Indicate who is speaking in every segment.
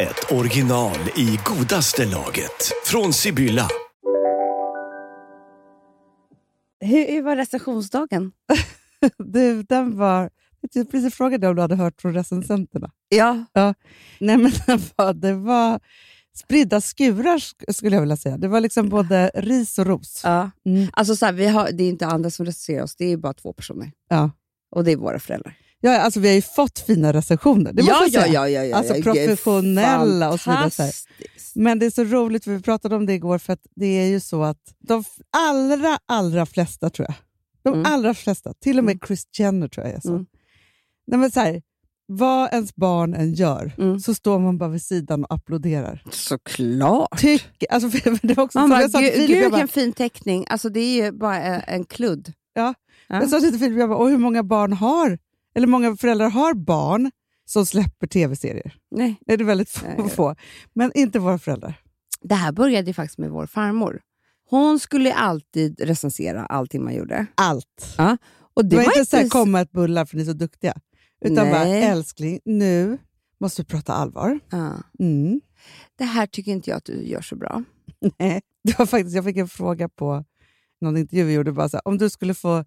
Speaker 1: ett original i godaste laget. Från Sibylla.
Speaker 2: Hur, hur var recensionsdagen?
Speaker 3: Du, den var... Jag precis frågade om du hade hört från recensenterna.
Speaker 2: Ja.
Speaker 3: Ja. Nej, men den var, det var spridda skurar sk- skulle jag vilja säga. Det var liksom både ris och ros.
Speaker 2: ja.
Speaker 3: Mm.
Speaker 2: Alltså så här, vi har, det är inte andra som recenserar oss, det är bara två personer.
Speaker 3: Ja.
Speaker 2: Och det är våra föräldrar.
Speaker 3: Ja, alltså, vi har ju fått fina recensioner, det måste jag säga.
Speaker 2: ja,
Speaker 3: Alltså
Speaker 2: ja,
Speaker 3: professionella och så vidare. så här.
Speaker 2: fantastiskt.
Speaker 3: Men det är så roligt, för vi pratade om det igår, för att det är ju så att de f- allra, allra flesta, tror jag, de
Speaker 2: Mm.
Speaker 3: allra flesta, till och med Chris Jenner tror jag är så.
Speaker 2: Mm.
Speaker 3: Nej, men så här, vad ens barn än gör,
Speaker 2: Mm.
Speaker 3: så står man bara vid sidan och applåderar.
Speaker 2: Såklart.
Speaker 3: Tyck, alltså, för, för det var också
Speaker 2: Man
Speaker 3: som
Speaker 2: bara,
Speaker 3: jag sa till
Speaker 2: gud,
Speaker 3: Filip,
Speaker 2: gud
Speaker 3: jag bara,
Speaker 2: vilken fin teckning. Alltså det är ju bara en, en kludd.
Speaker 3: jag sa till Filip, jag bara, och hur många barn har, eller många föräldrar har barn som släpper tv-serier?
Speaker 2: Nej.
Speaker 3: Nej, det är väldigt få,
Speaker 2: Nej, jag vet.
Speaker 3: få. Men inte våra föräldrar.
Speaker 2: Det här började ju faktiskt med vår farmor. Hon skulle alltid recensera allting man gjorde.
Speaker 3: Allt.
Speaker 2: Och
Speaker 3: Det var inte så här,
Speaker 2: s-
Speaker 3: komma ett bullar för ni är så duktiga. Utan
Speaker 2: Nej.
Speaker 3: bara, älskling, nu måste vi prata allvar.
Speaker 2: Ja.
Speaker 3: Mm.
Speaker 2: Det här tycker inte jag att du gör så bra.
Speaker 3: Nej. Det var faktiskt, jag fick en fråga på någon intervju vi gjorde. Bara så här, om du skulle få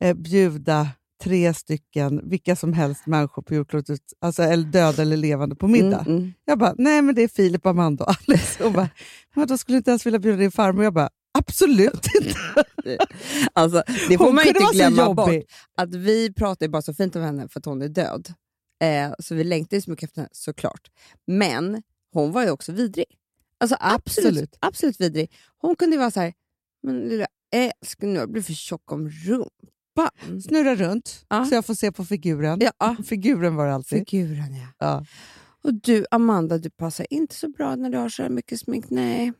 Speaker 3: eh, bjuda tre stycken, vilka som helst människor på jordklotet, ut- alltså, eller döda eller levande, på middag.
Speaker 2: Mm, mm.
Speaker 3: Jag bara, nej men det är Filip, Amanda och Alice. Hon bara, men då skulle du inte ens vilja bjuda din farmor. Jag bara, absolut inte.
Speaker 2: Mm. Alltså, det får
Speaker 3: Hon
Speaker 2: man
Speaker 3: kunde
Speaker 2: inte
Speaker 3: vara så
Speaker 2: glömma
Speaker 3: jobbig.
Speaker 2: bort. att vi pratar ju bara så fint om henne för att hon är död. Eh, så vi längtar ju så mycket efter henne, såklart. Men hon var ju också vidrig. Alltså absolut, absolut.
Speaker 3: Absolut.
Speaker 2: vidrig. Hon kunde ju vara så här, men lilla älskling, nu har jag blivit för tjock om rumpan.
Speaker 3: Snurra runt
Speaker 2: Ja.
Speaker 3: så jag får se på figuren.
Speaker 2: Ja,
Speaker 3: Figuren var det alltid.
Speaker 2: figuren ja.
Speaker 3: Ja.
Speaker 2: Och du Amanda, du passar inte så bra när du har så här mycket smink. Nej,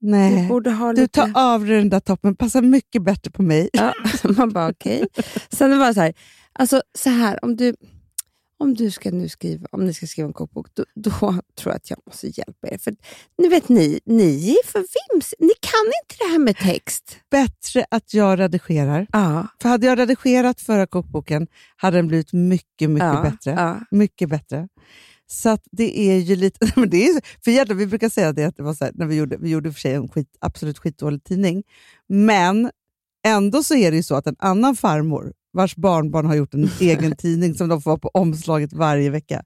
Speaker 2: du
Speaker 3: Nej.
Speaker 2: borde ha
Speaker 3: Eh, Du
Speaker 2: lite...
Speaker 3: tar av dig den där toppen, passar mycket bättre på mig.
Speaker 2: Ja, man bara okej. Sen det var det så här, alltså så här, om du, om du ska nu skriva, om ni ska skriva en kokbok, då, då tror jag att jag måste hjälpa er. För ni vet ni, ni är för vims, ni kan inte det här med text.
Speaker 3: Bättre att jag redigerar.
Speaker 2: Ja,
Speaker 3: För hade jag redigerat förra kokboken hade den blivit mycket, mycket
Speaker 2: ja,
Speaker 3: bättre.
Speaker 2: Ja.
Speaker 3: Mycket bättre. Så att det är ju lite... Men det är, för jävlar, vi brukar säga det, att det var så här, när vi gjorde, vi gjorde i och för sig en skit, absolut skitdålig tidning, men ändå så är det ju så att en annan farmor vars barnbarn har gjort en egen tidning som de får vara på omslaget varje vecka,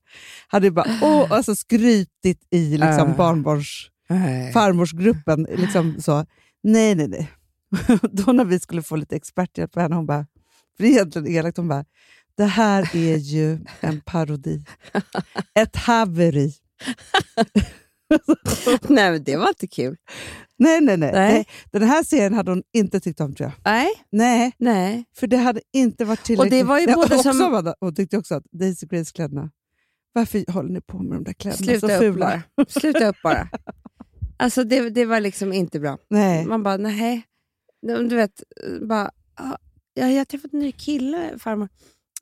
Speaker 3: hade ju bara åh, alltså skrytit i liksom,
Speaker 2: Äh.
Speaker 3: barnbarns,
Speaker 2: Nej.
Speaker 3: farmorsgruppen. Liksom så. Nej, nej, nej. Då när vi skulle få lite experthjälp på henne, hon bara, för det är egentligen elakt, hon bara, det här är ju en parodi. Ett haveri.
Speaker 2: Nej, men det var inte kul.
Speaker 3: Nej, nej, nej,
Speaker 2: Nej.
Speaker 3: nej. Den här serien hade hon inte tyckt om, tror jag.
Speaker 2: Nej,
Speaker 3: Nej,
Speaker 2: nej.
Speaker 3: för det hade inte varit tillräckligt.
Speaker 2: det var ju
Speaker 3: Nej,
Speaker 2: både
Speaker 3: också,
Speaker 2: som-
Speaker 3: Amanda, Hon tyckte också att Daisy Grace kläderna, varför håller ni på med de där kläderna?
Speaker 2: Sluta
Speaker 3: så
Speaker 2: upp
Speaker 3: fula.
Speaker 2: bara. Sluta upp bara. Alltså det, det var liksom inte bra.
Speaker 3: Nej.
Speaker 2: Man bara, nej. Du vet, bara, "Ah, "Ja, jag har träffat en ny kille, farmor.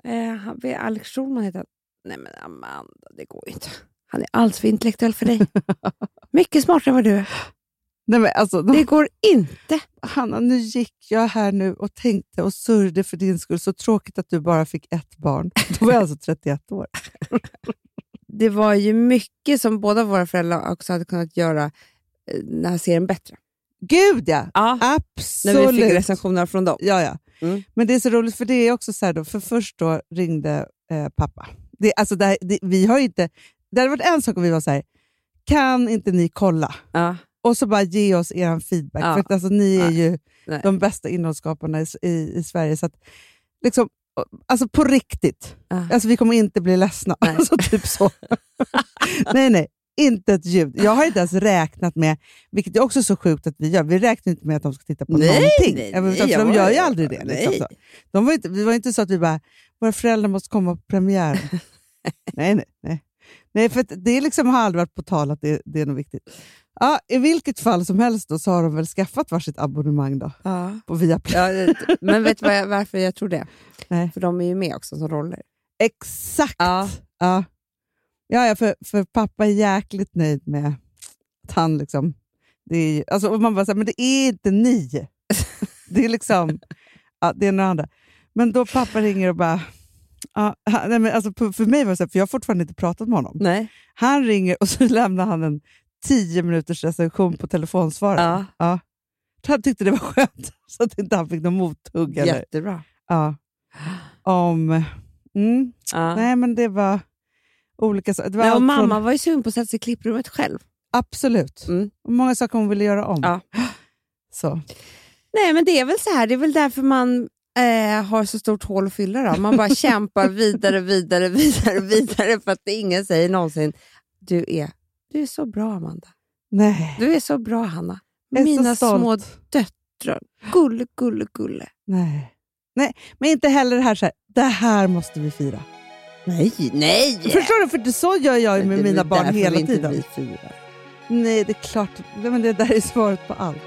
Speaker 2: Eh, han- vi- Alex Schulman heter han. Nej men Amanda, det går ju inte. Han är alls för intellektuell för dig. Mycket smartare än vad du är.
Speaker 3: Nej, men alltså, de
Speaker 2: Det går inte.
Speaker 3: Hanna, nu gick jag här nu och tänkte och sörjde för din skull. Så tråkigt att du bara fick ett barn. Då var jag alltså 31 år.
Speaker 2: Det var ju mycket som båda våra föräldrar också hade kunnat göra eh, den här serien bättre.
Speaker 3: Gud ja!
Speaker 2: Ja, när
Speaker 3: Absolut!
Speaker 2: vi fick recensioner från dem.
Speaker 3: Ja, ja.
Speaker 2: Mm.
Speaker 3: Men det är så roligt, för det är också så här då, för först då ringde eh, pappa. Det, alltså det, här- det, vi har ju inte, det hade varit en sak om vi var så här, kan inte ni kolla?
Speaker 2: Ja,
Speaker 3: Och så bara ge oss er feedback.
Speaker 2: Ja.
Speaker 3: För att, alltså, ni är
Speaker 2: Nej.
Speaker 3: ju
Speaker 2: Nej.
Speaker 3: de bästa innehållsskaparna i, i, i Sverige. Så att, liksom, alltså på riktigt.
Speaker 2: ja.
Speaker 3: Alltså vi kommer inte bli ledsna.
Speaker 2: Nej.
Speaker 3: Alltså typ så. nej, nej. Inte ett ljud. Jag har inte ens räknat med, vilket är också så sjukt att vi gör, vi räknar inte med att de ska titta på
Speaker 2: Nej,
Speaker 3: någonting.
Speaker 2: nej,
Speaker 3: Även-
Speaker 2: nej,
Speaker 3: för
Speaker 2: jag
Speaker 3: de
Speaker 2: var-
Speaker 3: gör ju aldrig det.
Speaker 2: nej.
Speaker 3: Liksom, så. De var inte, det var inte så att vi bara, våra föräldrar måste komma på premiären. nej, nej, nej. Nej, för att det liksom har aldrig varit på tal att det, det är något viktigt. Ja, I vilket fall som helst då, så har de väl skaffat varsitt abonnemang då,
Speaker 2: Ja.
Speaker 3: på Viaplay.
Speaker 2: Ja, det- men vet du vad jag, varför jag tror det?
Speaker 3: Nej.
Speaker 2: För de är ju med också som roller.
Speaker 3: Exakt! Ja. Ja, ja, för, för pappa är jäkligt nöjd med att han liksom... Det är, ju- alltså, och man bara, så här, men det är inte ni. Det är liksom... Ja, det är några andra. Men då pappa ringer och bara... Ja, han- nej, men alltså, på- för mig var det så här, för jag har fortfarande inte pratat med honom.
Speaker 2: Nej.
Speaker 3: Han ringer och så lämnar han en tio minuters recension på telefonsvararen.
Speaker 2: Ja.
Speaker 3: Ja. Han tyckte det var skönt, så att inte han fick någon mothugg. Eller,
Speaker 2: Jättebra.
Speaker 3: ja. Om... Mm.
Speaker 2: Ja.
Speaker 3: Nej, men det var olika saker. Det var
Speaker 2: Nej, och
Speaker 3: allt
Speaker 2: mamma
Speaker 3: från,
Speaker 2: var ju sugen på att sätta sig i klipprummet själv.
Speaker 3: absolut.
Speaker 2: Mm.
Speaker 3: Och Många saker hon ville göra om.
Speaker 2: Ja.
Speaker 3: Så.
Speaker 2: Nej, men det är väl så här. Det är väl därför man eh, har så stort hål att fylla. Då. Man bara kämpar vidare, vidare, vidare, vidare för att det ingen säger någonsin du är, du är så bra, Amanda.
Speaker 3: Nej.
Speaker 2: Du är så bra, Hanna.
Speaker 3: Jag är så
Speaker 2: Mina
Speaker 3: stolt.
Speaker 2: små döttrar. Gulle, gulle, gulle.
Speaker 3: Nej. Nej. Men inte heller det här, så här, det här måste vi fira.
Speaker 2: Nej, nej!
Speaker 3: Förstår du? För det, så gör jag ju med mina barn hela tiden. Nej, det är klart. Nej, men det där är svaret på allt.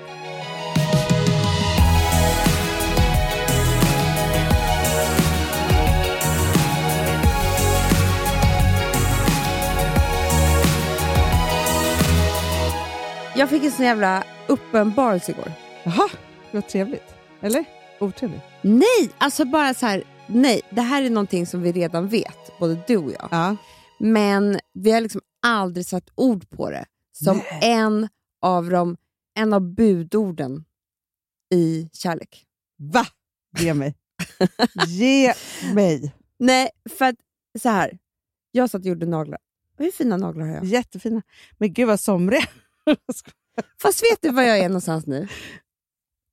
Speaker 2: Jag fick en sån jävla uppenbarelse igår.
Speaker 3: Jaha, vad trevligt. Eller? Otrevligt.
Speaker 2: Nej, alltså bara så här. Nej, det här är någonting som vi redan vet, både du och jag.
Speaker 3: Ja.
Speaker 2: Men vi har liksom aldrig satt ord på det som
Speaker 3: Nej.
Speaker 2: en av, de, en av budorden i kärlek.
Speaker 3: Va? Ge mig. Ge mig.
Speaker 2: Nej, för att så här. Jag satt och gjorde naglar. Hur fina naglar har jag?
Speaker 3: Jättefina. Men gud vad somriga.
Speaker 2: Fast vet du vad jag är någonstans nu?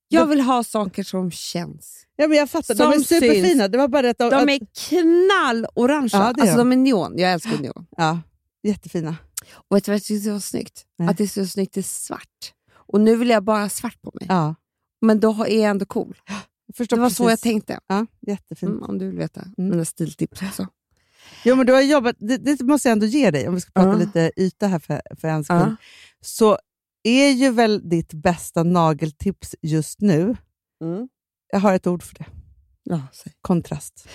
Speaker 2: Jag vill ha saker som känns.
Speaker 3: Ja, men jag fattar.
Speaker 2: Som
Speaker 3: De är
Speaker 2: syns.
Speaker 3: superfina. Det var bara det att de,
Speaker 2: De är knallorangea.
Speaker 3: Ja, det är
Speaker 2: alltså
Speaker 3: de.
Speaker 2: de är neon. Jag älskar neon.
Speaker 3: Ja, jättefina.
Speaker 2: Och vet du vad jag tyckte var snyggt?
Speaker 3: Nej.
Speaker 2: Att det är så snyggt i svart. Och nu vill jag bara ha svart på mig.
Speaker 3: Ja.
Speaker 2: Men då har- är jag ändå cool.
Speaker 3: Jag förstår
Speaker 2: Det var så jag
Speaker 3: precis.
Speaker 2: tänkte.
Speaker 3: Ja, jättefint.
Speaker 2: Mm, om du vill veta mina stiltips också.
Speaker 3: Jo, men du har jobbat, det, det måste jag ändå ge dig, om vi ska prata
Speaker 2: Ja.
Speaker 3: lite yta här för, för en sekund.
Speaker 2: Ja.
Speaker 3: Så är ju väl ditt bästa nageltips just nu,
Speaker 2: Mm.
Speaker 3: jag har ett ord för det,
Speaker 2: Ja, säg.
Speaker 3: kontrast.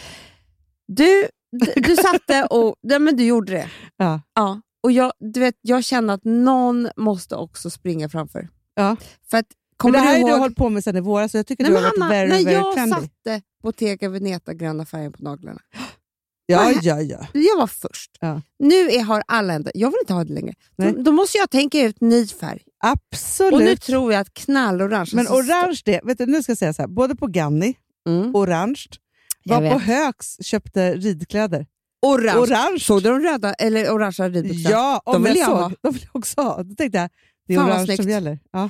Speaker 2: Du, du, du satte och... nej, men du gjorde det.
Speaker 3: Ja.
Speaker 2: Ja. Och jag, du vet, jag känner att någon måste också springa framför.
Speaker 3: Ja.
Speaker 2: För att,
Speaker 3: Men
Speaker 2: kommer
Speaker 3: det här
Speaker 2: du
Speaker 3: har ju
Speaker 2: ihåg?
Speaker 3: du hållit på med sedan i våras, så jag tycker
Speaker 2: nej,
Speaker 3: du
Speaker 2: men
Speaker 3: har varit
Speaker 2: Hanna,
Speaker 3: very,
Speaker 2: när
Speaker 3: very
Speaker 2: jag
Speaker 3: trendy.
Speaker 2: satte Bottega Veneta gröna färgen på naglarna.
Speaker 3: Ja, ja, ja.
Speaker 2: Jag var först.
Speaker 3: Ja.
Speaker 2: Nu är, har alla ändrat. Jag vill inte ha det längre. Då,
Speaker 3: Nej.
Speaker 2: då måste jag tänka ut ny färg.
Speaker 3: Absolut.
Speaker 2: Och nu tror jag att knallorange...
Speaker 3: men
Speaker 2: alltså,
Speaker 3: orange, det, vet du, nu ska jag säga så här, både på Ganni,
Speaker 2: Mm.
Speaker 3: orange,
Speaker 2: Jag
Speaker 3: var på
Speaker 2: vet.
Speaker 3: Högs köpte ridkläder.
Speaker 2: Orange.
Speaker 3: Orange.
Speaker 2: Såg du de röda eller orangea ridbyxorna?
Speaker 3: Ja, om
Speaker 2: De vill
Speaker 3: jag
Speaker 2: jag
Speaker 3: såg.
Speaker 2: ha.
Speaker 3: De vill jag också ha. Då tänkte jag, det är
Speaker 2: Fan, vad
Speaker 3: orange
Speaker 2: snyggt.
Speaker 3: som gäller. Ja.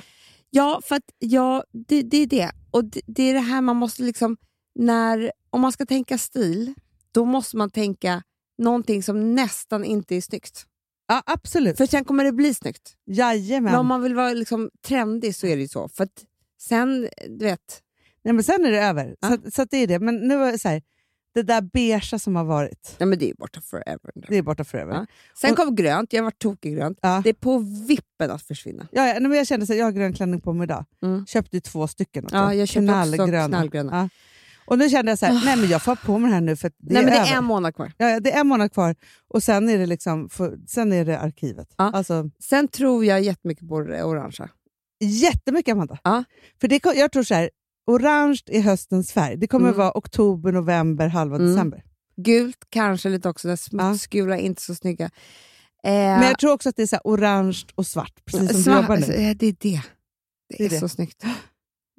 Speaker 2: Ja, för att ja, det, det är det. Och det, det är det här man måste liksom... När, om man ska tänka stil, då måste man tänka någonting som nästan inte är snyggt.
Speaker 3: ja, absolut.
Speaker 2: För sen kommer det bli snyggt. Men,
Speaker 3: Jajamän.
Speaker 2: om man vill vara liksom trendig så är det ju så. För att sen, du vet...
Speaker 3: Nej, men sen är det över. Så, att- så att det är det. Men nu var det så här, det där beigea som har varit,
Speaker 2: Nej, men det är ju borta forever.
Speaker 3: det är borta för över.
Speaker 2: Ja. Sen kom grönt, jag var tokig i grönt.
Speaker 3: Ja.
Speaker 2: Det är på vippen att försvinna.
Speaker 3: Ja, ja, nej, men jag kände så här, jag har grön klänning på mig idag.
Speaker 2: Mm.
Speaker 3: Köpte ju två stycken också.
Speaker 2: Ja, jag köpte också knallgröna. Ah.
Speaker 3: Ja. Och nu kände jag så här, nej men jag får ha på mig den här nu för att det
Speaker 2: Nej,
Speaker 3: är
Speaker 2: men det
Speaker 3: över.
Speaker 2: är en månad kvar.
Speaker 3: Ja, ja, det är en månad kvar och sen är det, liksom, för, sen är det arkivet.
Speaker 2: Ja.
Speaker 3: Alltså,
Speaker 2: Sen tror jag jättemycket på det orangea.
Speaker 3: Jättemycket Amanda.
Speaker 2: Ja.
Speaker 3: För det, kom- jag tror så här, orange är höstens färg. Det kommer
Speaker 2: Mm.
Speaker 3: vara oktober, november, halva
Speaker 2: Mm.
Speaker 3: december.
Speaker 2: Gult kanske lite också, där smutsgula, inte så snygga. Eh,
Speaker 3: Men jag tror också att det är så här, orange och svart, precis som
Speaker 2: sva-
Speaker 3: du jobbar nu.
Speaker 2: eh, Det är det. Det,
Speaker 3: Det är
Speaker 2: är
Speaker 3: det.
Speaker 2: så snyggt.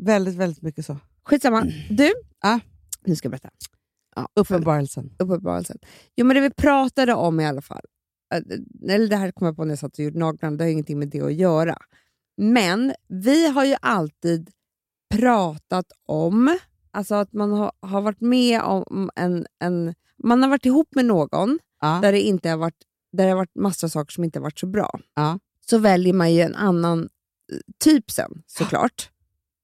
Speaker 3: Väldigt, väldigt mycket så.
Speaker 2: Skitsamma. Du,
Speaker 3: Ja.
Speaker 2: nu ska jag berätta. Ja,
Speaker 3: Uppenbarelsen.
Speaker 2: uppenbarelsen. Jo, men det vi pratade om i alla fall, eh, eller det här kom jag på när jag satt och gjorde naglarna, det har ju ingenting med det att göra. Men vi har ju alltid pratat om, alltså att man har, har varit med om en, en, man har varit ihop med någon
Speaker 3: Ja.
Speaker 2: där det inte har varit, där det har varit massa saker som inte har varit så bra.
Speaker 3: Ja.
Speaker 2: Så väljer man ju en annan eh, typ sen såklart.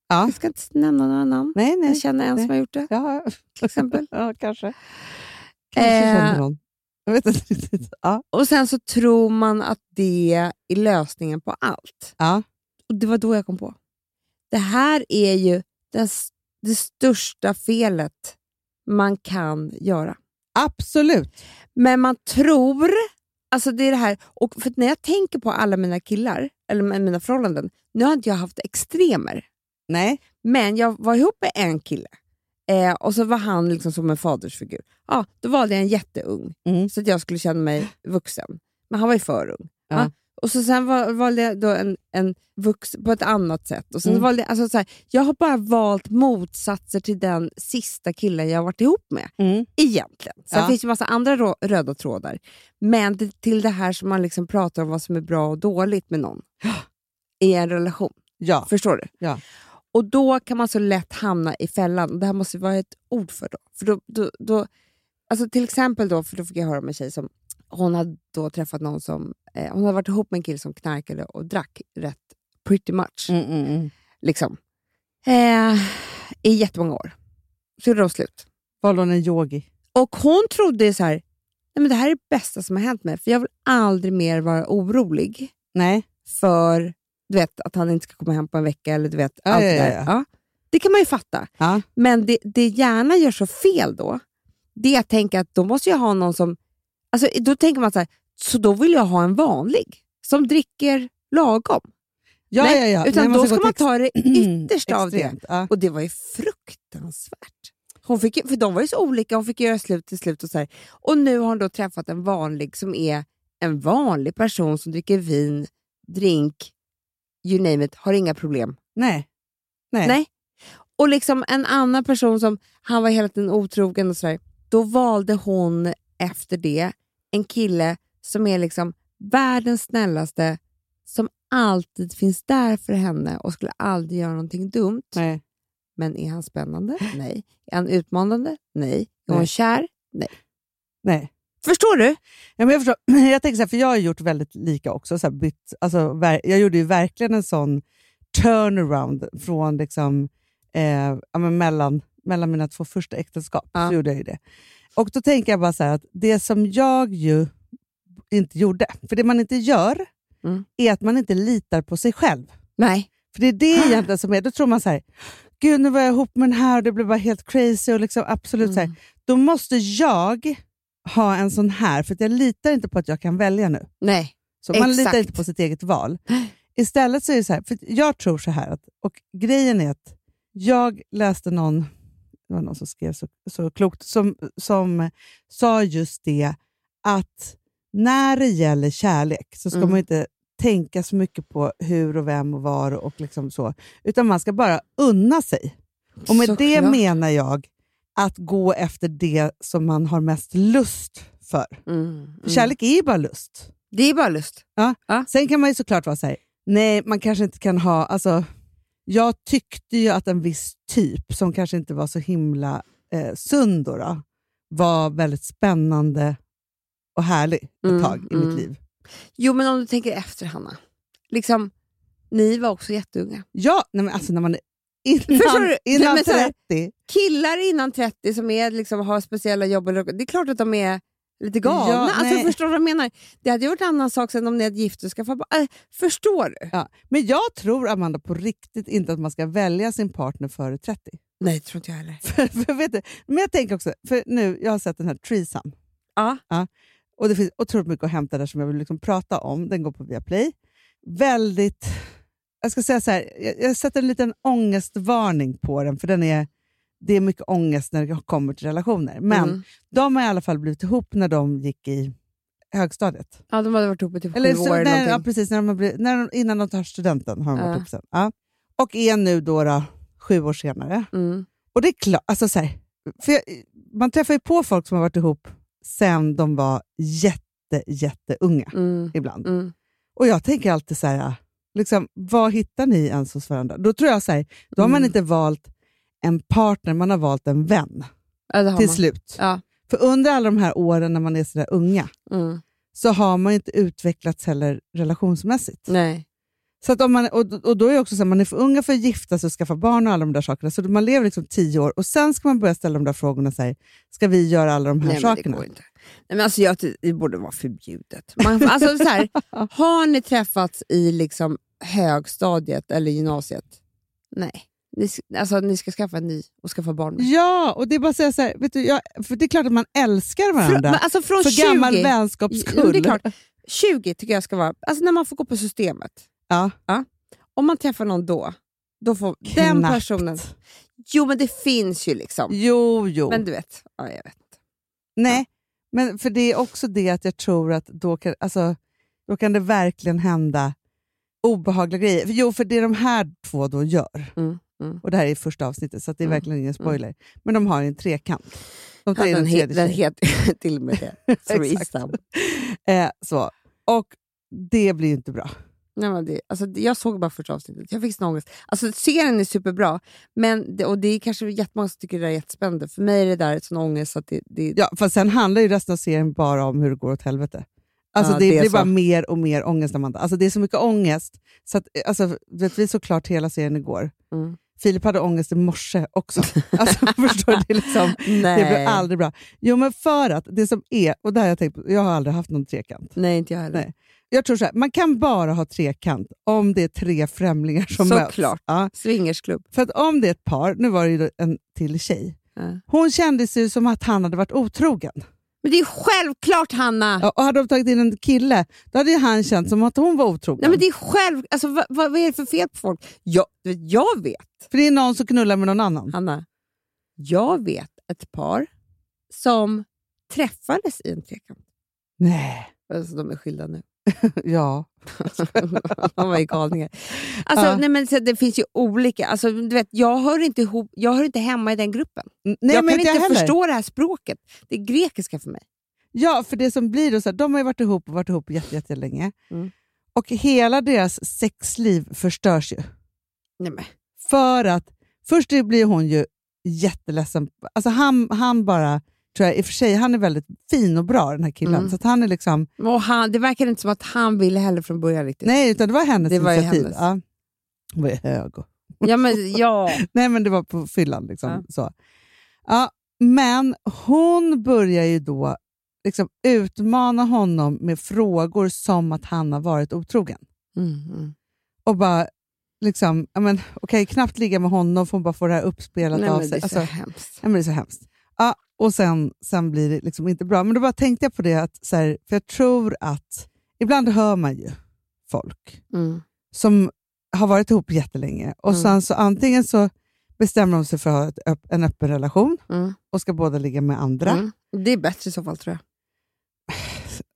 Speaker 3: Ja.
Speaker 2: Jag ska inte nämna några namn.
Speaker 3: Nej,
Speaker 2: Jag
Speaker 3: nej.
Speaker 2: känner en
Speaker 3: nej.
Speaker 2: som har gjort det
Speaker 3: Ja,
Speaker 2: till exempel. Eh.
Speaker 3: ja kanske. Kanske känner någon. Jag vet inte riktigt. Ja.
Speaker 2: Och sen så tror man att det är lösningen på allt.
Speaker 3: Ja.
Speaker 2: Och Det var då jag kom på. Det här är ju den, s- det största felet man kan göra.
Speaker 3: Absolut.
Speaker 2: Men man tror... Alltså det är det här. Och för att när jag tänker på alla mina killar, eller med mina förhållanden, nu har inte jag haft extremer.
Speaker 3: Nej.
Speaker 2: Men jag var ihop med en kille eh, och så var han liksom som en fadersfigur. Ja, då valde jag en jätteung
Speaker 3: Mm.
Speaker 2: så att jag skulle känna mig vuxen. Men han var ju för ung.
Speaker 3: Ja.
Speaker 2: Va? Och så sen val- valde jag då en, en vuxen på ett annat sätt. Och sen
Speaker 3: Mm.
Speaker 2: valde jag, alltså så här, jag har bara valt motsatser till den sista killen jag har varit ihop med
Speaker 3: Mm.
Speaker 2: egentligen. Sen
Speaker 3: Ja.
Speaker 2: finns det massa andra rå, röda trådar. Men det, till det här som man liksom pratar om vad som är bra och dåligt med någon i en relation.
Speaker 3: Ja.
Speaker 2: Förstår du?
Speaker 3: Ja.
Speaker 2: Och då kan man så lätt hamna i fällan. Och Det här måste vara ett ord för då. För då, då, då alltså till exempel då, för då fick jag höra om en tjej som hon hade då träffat någon som, eh, hon hade varit ihop med en kille som knarkade och drack rätt pretty much.
Speaker 3: Mm, mm, mm.
Speaker 2: Liksom. Eh, I jättemånga år. Så gjorde de slut.
Speaker 3: Valde hon en yogi?
Speaker 2: Och hon trodde ju så här, nej men det här är det bästa som har hänt mig, för jag vill aldrig mer vara orolig
Speaker 3: Nej.
Speaker 2: för du vet, att han inte ska komma hem på en vecka eller du vet,
Speaker 3: Ja,
Speaker 2: allt
Speaker 3: ja,
Speaker 2: det där.
Speaker 3: ja, ja.
Speaker 2: Det kan man ju fatta.
Speaker 3: Ja.
Speaker 2: Men det, det hjärnan gör så fel då, det är att tänka att då måste jag ha någon som, alltså då tänker man så här, så då vill jag ha en vanlig som dricker lagom.
Speaker 3: Ja,
Speaker 2: Nej,
Speaker 3: ja, ja.
Speaker 2: Utan
Speaker 3: Nej,
Speaker 2: då
Speaker 3: gå
Speaker 2: ska man
Speaker 3: till
Speaker 2: ta det yttersta av det.
Speaker 3: Extremt, Ja.
Speaker 2: Och det var ju fruktansvärt. Hon fick, ju- för de var ju så olika, hon fick göra slut till slut. Och så här. Och nu har hon då träffat en vanlig som är en vanlig person som dricker vin, drink, you name it, har inga problem.
Speaker 3: Nej. Nej.
Speaker 2: Nej. Och liksom en annan person som, han var hela tiden otrogen och sådär. Då valde hon efter det en kille som är liksom världens snällaste, som alltid finns där för henne och skulle aldrig göra någonting dumt.
Speaker 3: Nej.
Speaker 2: Men är han spännande? Nej. Är han utmanande? Nej. Är hon
Speaker 3: Nej.
Speaker 2: kär?
Speaker 3: Nej.
Speaker 2: Förstår du?
Speaker 3: Ja, men jag, förstår. jag tänker så här, för jag har gjort väldigt lika också. Så här, bytt, alltså, ver- jag gjorde ju verkligen en sån turnaround från liksom, eh, ja, men mellan, mellan mina två första äktenskap.
Speaker 2: Ja.
Speaker 3: Så gjorde jag ju det. Och då tänker jag bara så här, att det som jag ju inte gjorde, för det man inte gör,
Speaker 2: Mm.
Speaker 3: är att man inte litar på sig själv.
Speaker 2: Nej.
Speaker 3: För det är det egentligen som är, då tror man så här, gud nu var jag ihop med den här och det blev bara helt crazy. Och liksom, absolut så här. Då måste jag ha en sån här, för att jag litar inte på att jag kan välja nu.
Speaker 2: Nej.
Speaker 3: Så man litar
Speaker 2: Exakt.
Speaker 3: inte på sitt eget val. Istället så är det så här, för jag tror så här, att, och grejen är att jag läste någon, det var någon som skrev så, så klokt, som, som eh, sa just det att när det gäller kärlek så ska
Speaker 2: Mm.
Speaker 3: man inte tänka så mycket på hur och vem och var och liksom så, utan man ska bara unna sig. Och med det
Speaker 2: Såklart.
Speaker 3: menar jag att gå efter det som man har mest lust för.
Speaker 2: Mm, mm.
Speaker 3: Kärlek är ju bara lust.
Speaker 2: Det är bara lust.
Speaker 3: Sen kan man ju såklart vara så här, nej man kanske inte kan ha, alltså jag tyckte ju att en viss typ som kanske inte var så himla eh, sund då, då, var väldigt spännande och härlig ett
Speaker 2: Mm,
Speaker 3: tag i
Speaker 2: mm.
Speaker 3: mitt liv.
Speaker 2: Jo, men om du tänker efter, Hanna. Liksom, ni var också jätteunga.
Speaker 3: Ja, nej men alltså när man är innan,
Speaker 2: Förstår du? Nej,
Speaker 3: innan
Speaker 2: men så här-
Speaker 3: 30.
Speaker 2: Killar innan 30 som är, liksom, har speciella jobb, eller- det är klart att de är lite galna.
Speaker 3: Ja,
Speaker 2: alltså,
Speaker 3: nej.
Speaker 2: förstår du vad jag menar? Det hade ju varit en annan sak sen om ni hade gift och skaffat barn. Äh, förstår du?
Speaker 3: Ja. Men jag tror Amanda på riktigt inte att man ska välja sin partner före 30.
Speaker 2: Nej, det tror inte jag heller.
Speaker 3: För, för, vet du, men jag tänker också, för nu, jag har sett den här Treesome.
Speaker 2: Ja.
Speaker 3: Och det finns otroligt mycket att hämta där som jag vill liksom prata om. Den går på Viaplay. Väldigt... Jag ska säga så här, jag, jag sätter en liten ångestvarning på den, för den är, det är mycket ångest när det kommer till relationer. Men
Speaker 2: Mm.
Speaker 3: de har i alla fall blivit ihop när de gick i högstadiet.
Speaker 2: Ja, de hade varit ihop i typ
Speaker 3: Eller
Speaker 2: sju
Speaker 3: så,
Speaker 2: år eller
Speaker 3: när, ja,
Speaker 2: någonting.
Speaker 3: precis, när de har blivit, när de, innan de tar studenten har de varit
Speaker 2: Ja.
Speaker 3: ihop sen. Ja. Och är nu då, då sju år senare.
Speaker 2: Mm.
Speaker 3: Och det är klart, alltså så här, för jag, man träffar ju på folk som har varit ihop sen de var jätte, jätteunga
Speaker 2: Mm.
Speaker 3: ibland.
Speaker 2: Mm.
Speaker 3: Och jag tänker alltid så här, liksom, vad hittar ni ens hos varandra? Då tror jag så här, då har man
Speaker 2: Mm.
Speaker 3: inte valt en partner, man har valt en vän
Speaker 2: Ja, det har
Speaker 3: till
Speaker 2: man.
Speaker 3: slut.
Speaker 2: Ja.
Speaker 3: För under alla de här åren när man är så där unga
Speaker 2: Mm.
Speaker 3: så har man ju inte utvecklats heller relationsmässigt.
Speaker 2: Nej.
Speaker 3: Så att om man, och, och då är det också så att man är för unga för att gifta sig och skaffa barn och alla de där sakerna. Så man lever liksom tio år och sen ska man börja ställa de där frågorna. Så här, ska vi göra alla de här
Speaker 2: Nej, men det
Speaker 3: sakerna?
Speaker 2: går inte. Nej, men alltså, jag, ty- det borde vara förbjudet. Man, alltså, så här, har ni träffats i liksom, högstadiet eller gymnasiet? Nej. Ni, s- alltså, ni ska skaffa en ny och skaffa barn med.
Speaker 3: Ja, och det är bara att säga så här, vet du, jag, för det är klart att man älskar
Speaker 2: Frå- men
Speaker 3: varandra.
Speaker 2: alltså, från
Speaker 3: för
Speaker 2: 20,
Speaker 3: gammal
Speaker 2: Jo,
Speaker 3: vänskapsskull.
Speaker 2: det är klart. 20 tycker jag ska vara, alltså när man får gå på systemet.
Speaker 3: Ja.
Speaker 2: Om man träffar någon då, då får den
Speaker 3: Knappt.
Speaker 2: personen... Jo, men det finns ju liksom.
Speaker 3: Jo, jo.
Speaker 2: Men du vet. Ja, jag vet.
Speaker 3: Nej, men för det är också det att jag tror att då kan, alltså, då kan det verkligen hända obehagliga grejer. För, jo, för det de här två då gör,
Speaker 2: Mm, mm.
Speaker 3: och det här är första avsnittet så att det är
Speaker 2: Mm,
Speaker 3: verkligen ingen spoiler, men de har en trekant. De tar
Speaker 2: Ja,
Speaker 3: in
Speaker 2: den
Speaker 3: en
Speaker 2: he-
Speaker 3: tredje
Speaker 2: den
Speaker 3: tjej.
Speaker 2: heter till och med det. Threesome.
Speaker 3: eh, så. Och det blir ju inte bra.
Speaker 2: Nej, men det, alltså, det- jag såg bara första avsnittet, jag fick sån ångest. Alltså, serien är superbra, men det, och det är kanske jättemånga som tycker det där är jättespännande. För mig är det där sån ångest att det... det
Speaker 3: Ja, för sen handlar ju resten av serien bara om hur det går åt helvete. Alltså
Speaker 2: Ja,
Speaker 3: det,
Speaker 2: det är
Speaker 3: blir bara
Speaker 2: så.
Speaker 3: mer och mer ångest, Amanda. Alltså det är så mycket ångest. Så att, eh, alltså, du vet, vi såg klart hela serien igår.
Speaker 2: Mm.
Speaker 3: Filip hade ångest i morse också. Alltså, förstår du? Det, är liksom, det blir aldrig bra. Jo, men för att det som är, och det här har jag tänkt på, jag har aldrig haft någon trekant.
Speaker 2: Nej, inte jag heller.
Speaker 3: Nej. Jag tror så här, man kan bara ha trekant om det är tre främlingar som möts.
Speaker 2: Såklart.
Speaker 3: Ja,
Speaker 2: Swingersklubb.
Speaker 3: för att om det är ett par, nu var det ju då en till tjej,
Speaker 2: Ja.
Speaker 3: hon kändes ju som att han hade varit otrogen.
Speaker 2: Men det är självklart, Hanna!
Speaker 3: Ja, och hade de tagit in en kille, då hade ju han känt som att hon var otrogen.
Speaker 2: Nej, men det är själv... Alltså, vad, vad vad är det för fel på folk? Jag, du vet, jag vet,
Speaker 3: För det är någon som knullar med någon annan.
Speaker 2: Hanna, jag vet ett par som träffades i en trekant.
Speaker 3: Nej.
Speaker 2: Alltså, de är skilda nu. Alltså,
Speaker 3: Ja.
Speaker 2: De var ju galningar. Alltså,
Speaker 3: Ja.
Speaker 2: nej, men, så det finns ju olika. Alltså, du vet, jag, hör inte ihop, jag hör inte hemma i den gruppen.
Speaker 3: Nej,
Speaker 2: Mm. jag
Speaker 3: men
Speaker 2: kan inte
Speaker 3: heller.
Speaker 2: förstå det här språket. Det är grekiska för mig.
Speaker 3: Ja, för det som blir då, så här, de har ju varit ihop och varit ihop jätte, jättelänge.
Speaker 2: Mm.
Speaker 3: Och hela deras sexliv förstörs ju.
Speaker 2: Nej, men.
Speaker 3: För att först det blir hon ju jätteledsen. Alltså han, han bara, tror jag, i och för sig, han är väldigt fin och bra den här killen.
Speaker 2: Mm.
Speaker 3: Så att han är liksom,
Speaker 2: Och han, det verkar inte som att han ville heller från början riktigt.
Speaker 3: nej utan det var hennes
Speaker 2: Det var ju
Speaker 3: initiativ.
Speaker 2: hennes.
Speaker 3: Ja. Hon var ju hög och
Speaker 2: Ja, men, ja.
Speaker 3: Nej, men det var på fyllan. Liksom, Så. Ja, men hon börjar ju då liksom utmana honom med frågor som att han har varit otrogen.
Speaker 2: Mm, mm.
Speaker 3: Och bara, liksom, ja, men, okej, knappt ligga med honom för hon bara får det här uppspelat
Speaker 2: Nej,
Speaker 3: av
Speaker 2: men det
Speaker 3: sig.
Speaker 2: är så
Speaker 3: Alltså,
Speaker 2: hemskt.
Speaker 3: Nej, men det är så hemskt. Ja, och sen, sen blir det liksom inte bra. Men då bara tänkte jag på det, att, så här, för jag tror att ibland hör man ju folk
Speaker 2: Mm.
Speaker 3: som har varit ihop jättelänge och
Speaker 2: Mm.
Speaker 3: sen så antingen så bestämmer de sig för att ha ett öpp- en öppen relation
Speaker 2: Mm.
Speaker 3: och ska båda ligga med andra.
Speaker 2: Mm. Det är bättre i så fall tror jag.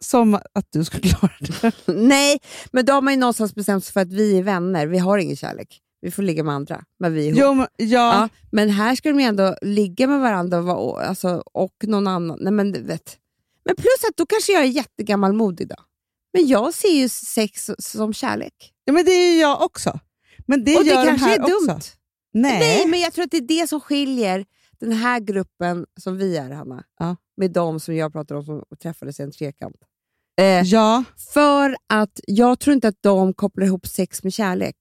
Speaker 3: Som att du ska klara det.
Speaker 2: Nej, men då har man ju någonstans bestämt sig för att vi är vänner. Vi har ingen kärlek. Vi får ligga med andra, men vi är ihop.
Speaker 3: Jo, men, ja,
Speaker 2: Ja, men här ska de ju ändå ligga med varandra och, vara- alltså, och någon annan. Nej, men, du vet. men plus att då kanske jag är jättegammalmodig då. Men jag ser ju sex som kärlek.
Speaker 3: ja. men det är ju jag också. Men det
Speaker 2: och
Speaker 3: gör
Speaker 2: det
Speaker 3: de
Speaker 2: kanske
Speaker 3: här
Speaker 2: är dumt.
Speaker 3: också. Nej.
Speaker 2: Nej, men jag tror att det är det som skiljer den här gruppen som vi är, Hanna,
Speaker 3: Ja.
Speaker 2: med de som jag pratar om som träffades i en trekant. Eh,
Speaker 3: Ja,
Speaker 2: för att jag tror inte att de kopplar ihop sex med kärlek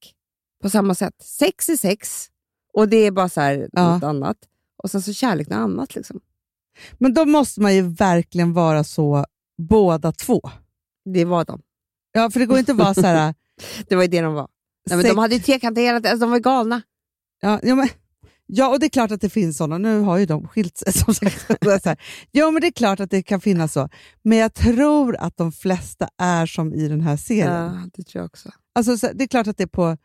Speaker 2: på samma sätt. Sex är sex och det är bara så här
Speaker 3: Ja.
Speaker 2: något annat. Och sen så kärlek något annat. Liksom.
Speaker 3: men då måste man ju verkligen vara så båda två.
Speaker 2: Det var de.
Speaker 3: Ja, för det går inte att vara så här...
Speaker 2: Det var ju det de var. Nej, men
Speaker 3: sex-
Speaker 2: de hade ju trekant hela tiden. Alltså, de var ju galna.
Speaker 3: Ja, ja, men, ja, och det är klart att det finns sådana. Nu har ju de skilt sig som sagt. Så här. Ja, men det är klart att det kan finnas så. Men jag tror att de flesta är som i den här serien.
Speaker 2: Ja, det tror jag också.
Speaker 3: Alltså, så, det är klart att det på,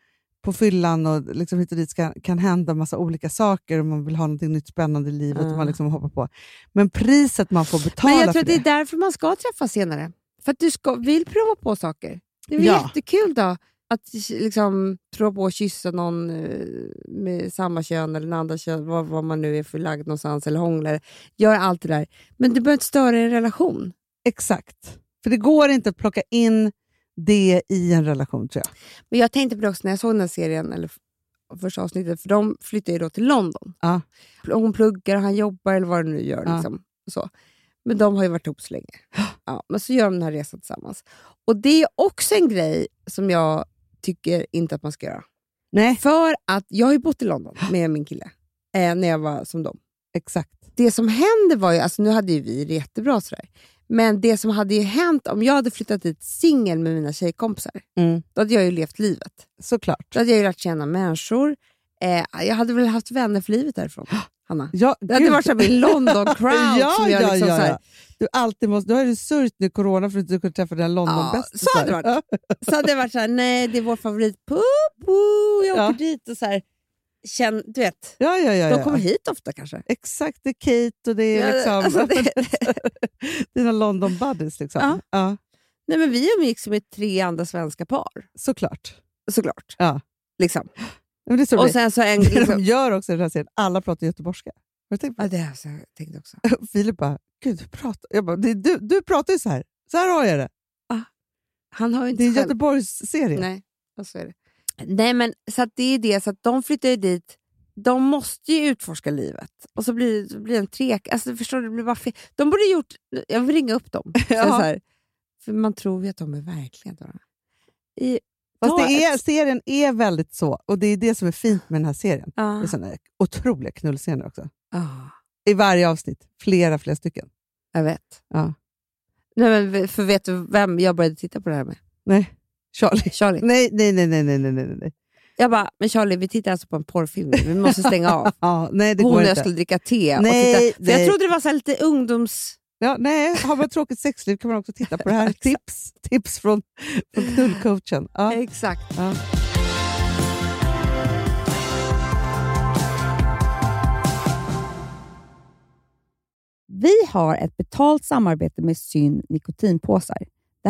Speaker 3: på fyllan och liksom hit och dit ska, kan hända massa olika saker och man vill ha något nytt spännande i livet och
Speaker 2: Ja.
Speaker 3: man liksom hoppar på. Men priset man får betala
Speaker 2: men jag tror
Speaker 3: för
Speaker 2: att det är därför man ska träffas senare. För att du ska, vill prova på saker. Det är väl
Speaker 3: Ja.
Speaker 2: jättekul då att liksom, prova på att kyssa någon eh, med samma kön eller en andra kön, vad, vad man nu är förlagd någonstans eller hånglar. Gör allt det där. Men du behöver inte störa en relation.
Speaker 3: Exakt. För det går inte att plocka in det i en relation tror jag.
Speaker 2: Men jag tänkte på det också när jag såg den här serien, eller f- första avsnittet, för de flyttar ju då till London.
Speaker 3: Ja.
Speaker 2: Hon pluggar, han jobbar eller vad det nu gör.
Speaker 3: Ja.
Speaker 2: Liksom. Så. Men de har ju varit ihop så länge. Ja, men så gör de den här resan tillsammans. Och det är också en grej som jag tycker inte att man ska göra.
Speaker 3: Nej,
Speaker 2: För att jag har ju bott i London med min kille eh, när jag var som dem.
Speaker 3: exakt.
Speaker 2: Det som hände var ju, alltså nu hade ju vi det jättebra och sådär, men det som hade ju hänt om jag hade flyttat dit singel med mina tjejkompisar,
Speaker 3: Mm.
Speaker 2: då hade jag ju levt livet.
Speaker 3: Såklart.
Speaker 2: Då hade jag ju lärt känna människor. Eh, jag hade väl haft vänner för livet därifrån, Hanna.
Speaker 3: Ja,
Speaker 2: Det hade
Speaker 3: gud.
Speaker 2: varit som min London-crowd.
Speaker 3: ja,
Speaker 2: som jag
Speaker 3: ja,
Speaker 2: liksom
Speaker 3: ja,
Speaker 2: så här-
Speaker 3: ja. Du, alltid måste, du har ju sörjt nu corona för att du inte kunde träffa dina London-bästisar.
Speaker 2: så hade det varit. Så hade det varit så här, nej det är vår favoritpub, woo, jag åker
Speaker 3: Ja.
Speaker 2: dit och så här, känn, du vet.
Speaker 3: Ja, ja, ja,
Speaker 2: De kommer
Speaker 3: ja.
Speaker 2: hit ofta kanske.
Speaker 3: Exakt, det är Kate och det är
Speaker 2: Ja,
Speaker 3: liksom,
Speaker 2: alltså det-
Speaker 3: dina London-buddies. Liksom.
Speaker 2: Ja.
Speaker 3: ja,
Speaker 2: Nej, men vi umgicks med tre andra svenska par,
Speaker 3: såklart.
Speaker 2: såklart.
Speaker 3: Ja.
Speaker 2: Liksom.
Speaker 3: Ja, Men det är så det
Speaker 2: Och
Speaker 3: blir.
Speaker 2: sen så en...
Speaker 3: det de
Speaker 2: Liksom,
Speaker 3: gör också i den här serien, alla pratar göteborgska. Har du tänkt på
Speaker 2: ja,
Speaker 3: det?
Speaker 2: det har jag så- tänkt också.
Speaker 3: Och Filip bara, gud du pratar, jag bara, det är du, du pratar ju så här. Så här har jag det.
Speaker 2: Han har ju inte
Speaker 3: Det är en
Speaker 2: själv.
Speaker 3: Göteborgsserie.
Speaker 2: Nej, ja, så är det. Nej, men så att det är det, så att de flyttar ju dit. De måste ju utforska livet. Och så blir, så blir det en trek. Alltså, förstår du, det blir bara fel. De borde gjort... Jag vill ringa upp dem. Så
Speaker 3: Ja.
Speaker 2: så här, för man tror ju att de är verkliga. Då. I,
Speaker 3: Fast
Speaker 2: ta
Speaker 3: det är,
Speaker 2: ett-
Speaker 3: serien är väldigt så, och det är det som är fint med den här serien.
Speaker 2: Ja.
Speaker 3: Det är sådana otroliga knullscener också.
Speaker 2: Ja,
Speaker 3: I varje avsnitt, flera, flera stycken.
Speaker 2: jag vet.
Speaker 3: Ja.
Speaker 2: Nej, men för vet du vem jag började titta på det här med?
Speaker 3: Nej, Charlie.
Speaker 2: Charlie.
Speaker 3: Nej, nej, nej, nej, nej, nej, nej, nej.
Speaker 2: Jag bara, men Charlie, vi tittar alltså på en porrfilm nu. Vi måste stänga av.
Speaker 3: Ja, nej, det
Speaker 2: Hon
Speaker 3: går
Speaker 2: och jag
Speaker 3: inte.
Speaker 2: skulle dricka te. och
Speaker 3: Nej,
Speaker 2: titta. För jag
Speaker 3: nej.
Speaker 2: trodde det var så här lite ungdoms...
Speaker 3: Ja, nej, har man tråkigt sexliv kan man också titta på det här. tips, tips från, från knullcoachen. Ja.
Speaker 2: Exakt.
Speaker 3: Ja.
Speaker 2: Vi har ett betalt samarbete med Syn nikotinpåsar. Det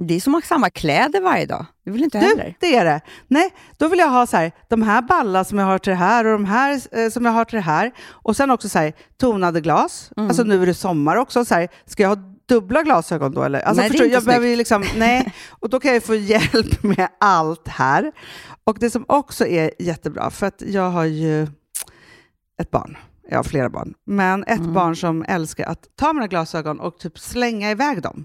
Speaker 2: Det är som att ha samma kläder varje dag. Det vill inte jag
Speaker 3: Du,
Speaker 2: heller.
Speaker 3: det är det. Nej, då vill jag ha så här, de här balla som jag har till det här och de här eh, som jag har till det här. Och sen också så här, tonade glas.
Speaker 2: Mm.
Speaker 3: Alltså nu är det sommar också. Så här, ska jag ha dubbla glasögon då eller? Alltså,
Speaker 2: Nej, det är
Speaker 3: förstår du,
Speaker 2: inte
Speaker 3: jag behöver ju liksom, nej. Och då kan jag ju få hjälp med allt här. Och det som också är jättebra, för att jag har ju ett barn. Jag har flera barn. Men ett
Speaker 2: Mm.
Speaker 3: barn som älskar att ta mina glasögon och typ slänga iväg dem.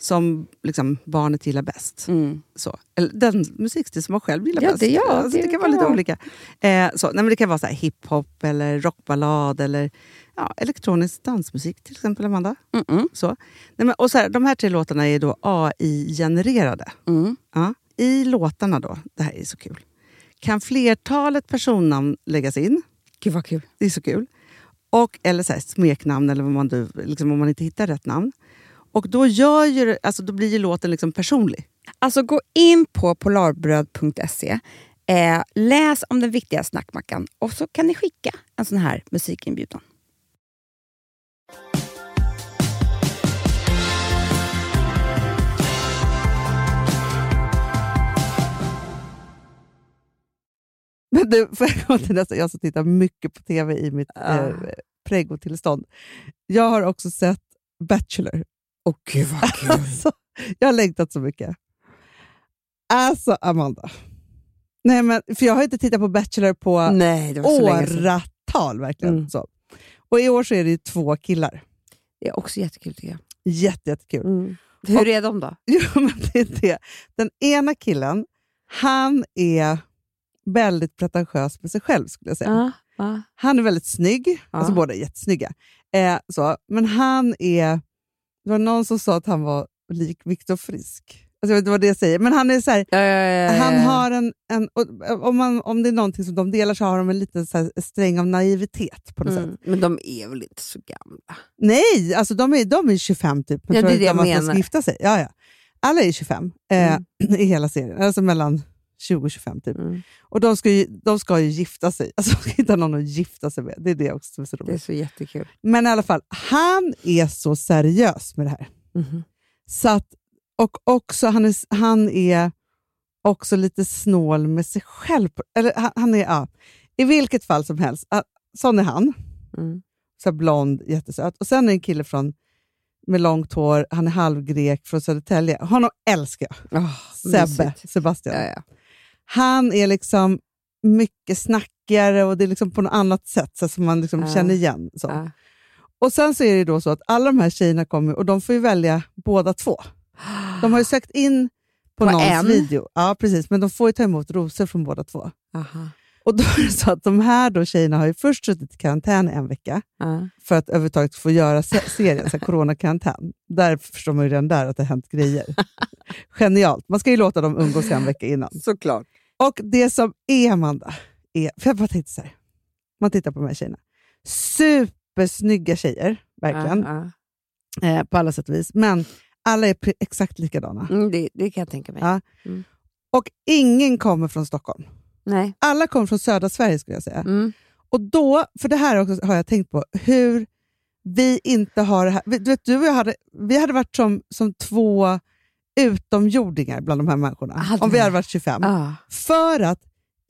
Speaker 3: som liksom, barnet gillar bäst.
Speaker 2: Mm.
Speaker 3: så. Eller den musikstil som man själv gillar
Speaker 2: Ja,
Speaker 3: bäst.
Speaker 2: det- ja,
Speaker 3: alltså, det,
Speaker 2: det
Speaker 3: kan vara
Speaker 2: kan
Speaker 3: lite
Speaker 2: vara.
Speaker 3: olika. Eh, så, nej, men det kan vara så här hiphop, eller rockballad eller ja, elektronisk dansmusik till exempel, Amanda.
Speaker 2: Mm-mm.
Speaker 3: Så. Nej, men, och så här, de här tre låtarna är då AI-genererade.
Speaker 2: Mm.
Speaker 3: Ja. I låtarna då, det här är så kul, kan flertalet personnamn läggas in.
Speaker 2: Gud vad kul.
Speaker 3: Det är så kul. Och, eller så här, smeknamn, eller vad man, nu- liksom, om man inte hittar rätt namn. Och då, gör ju, det- alltså, då blir ju låten liksom personlig.
Speaker 2: Alltså gå in på polarbröd.se, eh, läs om den viktiga snackmackan och så kan ni skicka en sån här musikinbjudan.
Speaker 3: Men du, får jag gå till nästa? Jag som tittar mycket på tv i mitt
Speaker 2: Ah.
Speaker 3: eh, pregotillstånd. Jag har också sett Bachelor.
Speaker 2: Åh gud vad kul.
Speaker 3: Alltså, jag har längtat så mycket. Alltså, Amanda. Nej, men, för jag har inte tittat på Bachelor på
Speaker 2: Nej, det var så länge sedan.
Speaker 3: åratal. Verkligen.
Speaker 2: Mm.
Speaker 3: Så. Och i år så är det ju två killar.
Speaker 2: Det är också jättekul tycker jag.
Speaker 3: Jätte, jättekul.
Speaker 2: Mm. Hur är de då?
Speaker 3: Jo, men det är det. Den ena killen, han är väldigt pretentiös med sig själv skulle jag säga.
Speaker 2: ja.
Speaker 3: Han är väldigt snygg,
Speaker 2: Ja.
Speaker 3: alltså båda är jättesnygga. Eh, så. Men han är... Det var någon som sa att han var lik Viktor Frisk. Alltså, jag vet inte vad det säger, men han är så här,
Speaker 2: Eh.
Speaker 3: han har en... en och, om, man, om det är någonting som de delar så har de en liten så här, sträng av naivitet på något sätt.
Speaker 2: Men de är väl inte så gamla?
Speaker 3: Nej, alltså de är, de är 25 typ. men
Speaker 2: Ja, det
Speaker 3: tror
Speaker 2: är
Speaker 3: att
Speaker 2: det jag
Speaker 3: de har fått
Speaker 2: menar.
Speaker 3: Gifta sig. Ja, ja. Alla är 25 eh, i hela serien, alltså mellan 20 och 25 typ.
Speaker 2: Mm.
Speaker 3: Och de ska, ju, de ska ju gifta sig, alltså de ska hitta någon att gifta sig med. Det är det också som är så roligt.
Speaker 2: Det är så jättekul.
Speaker 3: Men i alla fall, han är så seriös med det här.
Speaker 2: Mhm.
Speaker 3: Så att, och också, han är, han är också lite snål med sig själv. på- Eller han, han är, ja, I vilket fall som helst, ah, sån är han.
Speaker 2: Mm.
Speaker 3: Så här blond, jättesöt. Och sen är det en kille från, med långt hår, han är halvgrek från Södertälje. Honom älskar jag. Sebbe,
Speaker 2: Ah, mysigt.
Speaker 3: Sebastian.
Speaker 2: Ja, ja.
Speaker 3: Han är liksom mycket snackigare och det är liksom på något annat sätt så här som man liksom
Speaker 2: Ja.
Speaker 3: känner igen. Så.
Speaker 2: Ja.
Speaker 3: Och sen så är det då så att alla de här tjejerna kommer och de får ju välja båda två. De har ju sökt in på,
Speaker 2: På
Speaker 3: någons
Speaker 2: en?
Speaker 3: video. Ja, precis. Men de får ju ta emot rosor från båda två.
Speaker 2: Aha.
Speaker 3: Och då är det så att de här då tjejerna har ju först suttit i karantän en vecka
Speaker 2: Ja.
Speaker 3: för att överhuvudtaget få göra se- serien, så här coronakarantän. Där förstår man ju redan där att det har hänt grejer. Genialt. Man ska ju låta dem umgås en vecka innan.
Speaker 2: Såklart.
Speaker 3: Och det som är, Amanda, är, för jag bara tänkte så här, man tittar på de här tjejerna. Supersnygga tjejer, verkligen
Speaker 2: Ja,
Speaker 3: eh, på alla sätt och vis. Men alla är pre- exakt likadana.
Speaker 2: ja. Mm, det, det kan jag tänka mig.
Speaker 3: Ja. Och ingen kommer från Stockholm.
Speaker 2: Nej.
Speaker 3: Alla kommer från södra Sverige skulle jag säga.
Speaker 2: Mm.
Speaker 3: Och då, för det här också har jag tänkt på, hur vi inte har det här. Du vet, du och jag hade, vi hade varit som, som två utomjordingar bland de här människorna.
Speaker 2: Hade
Speaker 3: om vi
Speaker 2: vi?
Speaker 3: hade varit 25.
Speaker 2: Ah.
Speaker 3: För att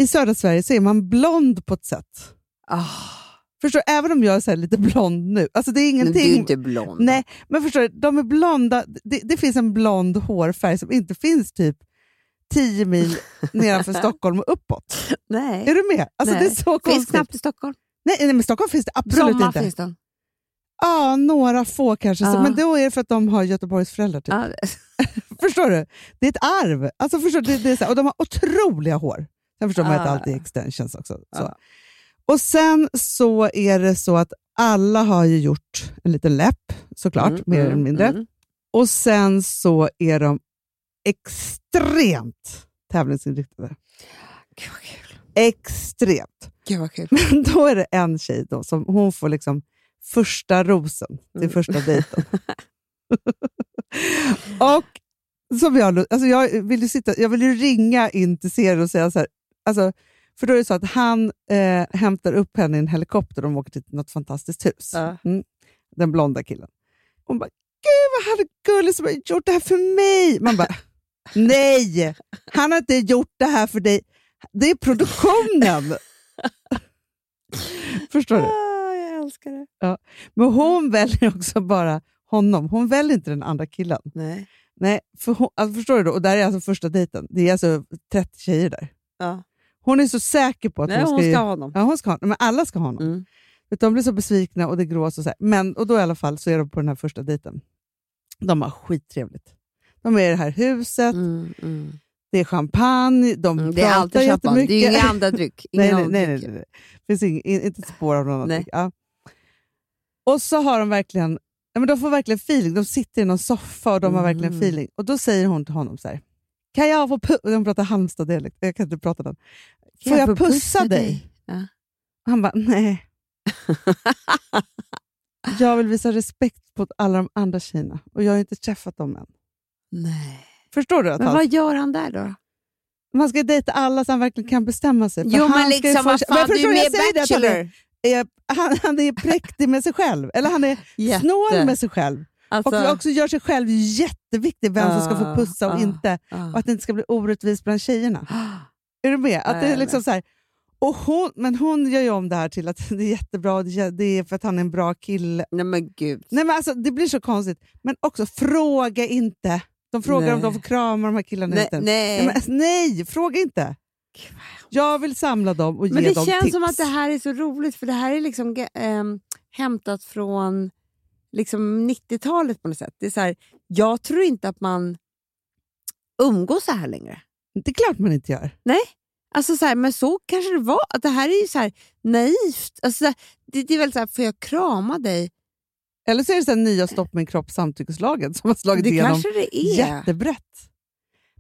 Speaker 3: i södra Sverige så är man blond på ett sätt. Förstår du? Även om jag är så här lite blond nu. Alltså det är
Speaker 2: Ah. Men du
Speaker 3: ingenting.
Speaker 2: är ju inte blond.
Speaker 3: Nej, men förstår du, de är blonda. Det, det finns en blond hårfärg som inte finns typ 10 mil nedanför Stockholm och uppåt.
Speaker 2: Nej.
Speaker 3: Är du med? Alltså, det är
Speaker 2: Nej.
Speaker 3: så
Speaker 2: Finns
Speaker 3: konstigt.
Speaker 2: knappt i Stockholm.
Speaker 3: Nej, nej, men Stockholm finns det absolut
Speaker 2: Bromma
Speaker 3: inte.
Speaker 2: finns den.
Speaker 3: Ja, några få kanske, så,
Speaker 2: Ja.
Speaker 3: men då är det för att de har Göteborgs föräldrar. Typ.
Speaker 2: Ja.
Speaker 3: Förstår du? Det är ett arv. Alltså, förstår du? Det, det är så här, och de har otroliga hår. Sen förstår man
Speaker 2: Ja.
Speaker 3: att allt är extensions också. Så.
Speaker 2: Ja.
Speaker 3: Och sen så är det så att alla har ju gjort en liten läpp, såklart,
Speaker 2: Mm,
Speaker 3: mer
Speaker 2: mm,
Speaker 3: eller mindre.
Speaker 2: mm.
Speaker 3: Och sen så är de extremt tävlingsinriktade.
Speaker 2: Gud vad kul.
Speaker 3: Extremt.
Speaker 2: Gud vad kul.
Speaker 3: Men då är det en tjej då som hon får liksom första rosen till
Speaker 2: Mm.
Speaker 3: första dejten. och som jag, alltså jag, vill ju sitta, jag vill ju ringa in till serien och säga så här, alltså, för då är det så att han eh, hämtar upp henne i en helikopter och de åker till något fantastiskt hus.
Speaker 2: Ja.
Speaker 3: Mm. Den blonda killen. Hon bara, gud vad han är gullig som har gjort det här för mig. Man bara, nej, han har inte gjort det här för dig. Det är produktionen. Förstår du?
Speaker 2: Ah, jag älskar det.
Speaker 3: Men hon väljer också bara honom. Hon väljer inte den andra killen.
Speaker 2: Nej.
Speaker 3: Nej, för hon, alltså förstår du? Då? Och där är alltså första dejten. Det är alltså 30 tjejer där.
Speaker 2: Ja.
Speaker 3: Hon är så säker på att
Speaker 2: Nej,
Speaker 3: hon ska...
Speaker 2: hon
Speaker 3: ju-
Speaker 2: ska ha honom.
Speaker 3: Ja, hon ska ha honom. Men alla ska ha honom.
Speaker 2: Mm.
Speaker 3: Vet du, De blir så besvikna och det grås och så här. Men, och då i alla fall så är de på den här första dejten. De har skittrevligt. De är i det här huset,
Speaker 2: Mm, mm.
Speaker 3: det är champagne, de
Speaker 2: Mm, det är
Speaker 3: pratar
Speaker 2: alltid champagne.
Speaker 3: jättemycket.
Speaker 2: Det är ju inga andra dryck. Inga
Speaker 3: nej, nej,
Speaker 2: andra
Speaker 3: nej,
Speaker 2: dryck.
Speaker 3: nej, nej. Det finns ing, in, inte ett spår av någon annan
Speaker 2: Nej.
Speaker 3: dryck. ja. Och så har de verkligen ja, men de får verkligen feeling. De sitter i någon soffa och de har verkligen
Speaker 2: Mm.
Speaker 3: feeling. Och då säger hon till honom så här. Kan jag få pu-" De pratar Halmstad-dialekt. Jag kan inte prata den. Får jag, pussa, dig?
Speaker 2: Ja.
Speaker 3: Han bara, nej. jag vill visa respekt mot alla de andra tjejerna och jag har ju inte träffat dem än.
Speaker 2: Nej.
Speaker 3: Förstår du? Att
Speaker 2: Men
Speaker 3: han,
Speaker 2: vad gör han där då?
Speaker 3: man ska dejta alla så han verkligen kan bestämma sig. För
Speaker 2: Jo,
Speaker 3: han
Speaker 2: men
Speaker 3: ska ju
Speaker 2: liksom vad
Speaker 3: först- Men
Speaker 2: fan, du
Speaker 3: förstår
Speaker 2: är
Speaker 3: jag
Speaker 2: med
Speaker 3: säger det att han är-
Speaker 2: Bachelor.
Speaker 3: är, han, han är präktig med sig själv. Eller han är
Speaker 2: Jätte.
Speaker 3: snål med sig själv.
Speaker 2: Alltså,
Speaker 3: och också gör sig själv jätteviktig vem som ska
Speaker 2: Ah,
Speaker 3: få pussa och
Speaker 2: ah.
Speaker 3: inte.
Speaker 2: ja.
Speaker 3: Och att det inte ska bli orättvist bland tjejerna. Är du med? Att det
Speaker 2: Nej,
Speaker 3: är
Speaker 2: jag
Speaker 3: liksom så här, och hon, men hon gör ju om det här till att det är jättebra, och det är- det är för att han är en bra kille.
Speaker 2: Nej men gud.
Speaker 3: Nej, men alltså, det blir så konstigt. Men också, fråga inte. De frågar om
Speaker 2: Nej.
Speaker 3: de får krama de här killarna
Speaker 2: Nej,
Speaker 3: inte.
Speaker 2: nej.
Speaker 3: Nej, men, alltså, nej, fråga inte. Jag vill samla dem och
Speaker 2: Men
Speaker 3: ge
Speaker 2: det
Speaker 3: dem
Speaker 2: känns
Speaker 3: tips.
Speaker 2: som att det här är så roligt för det här är liksom ähm, hämtat från liksom 90-talet på något sätt. Det är så här, jag tror inte att man umgås så här längre.
Speaker 3: Det är klart man inte gör.
Speaker 2: Alltså så här, men så kanske det var. Att det här är ju så här naivt. Alltså så här, det, det är väl så här, får jag krama dig?
Speaker 3: Eller så är det så här nya stopp med kropp samtyckeslagen som har slagit
Speaker 2: Det
Speaker 3: igenom
Speaker 2: kanske det är.
Speaker 3: jättebrett.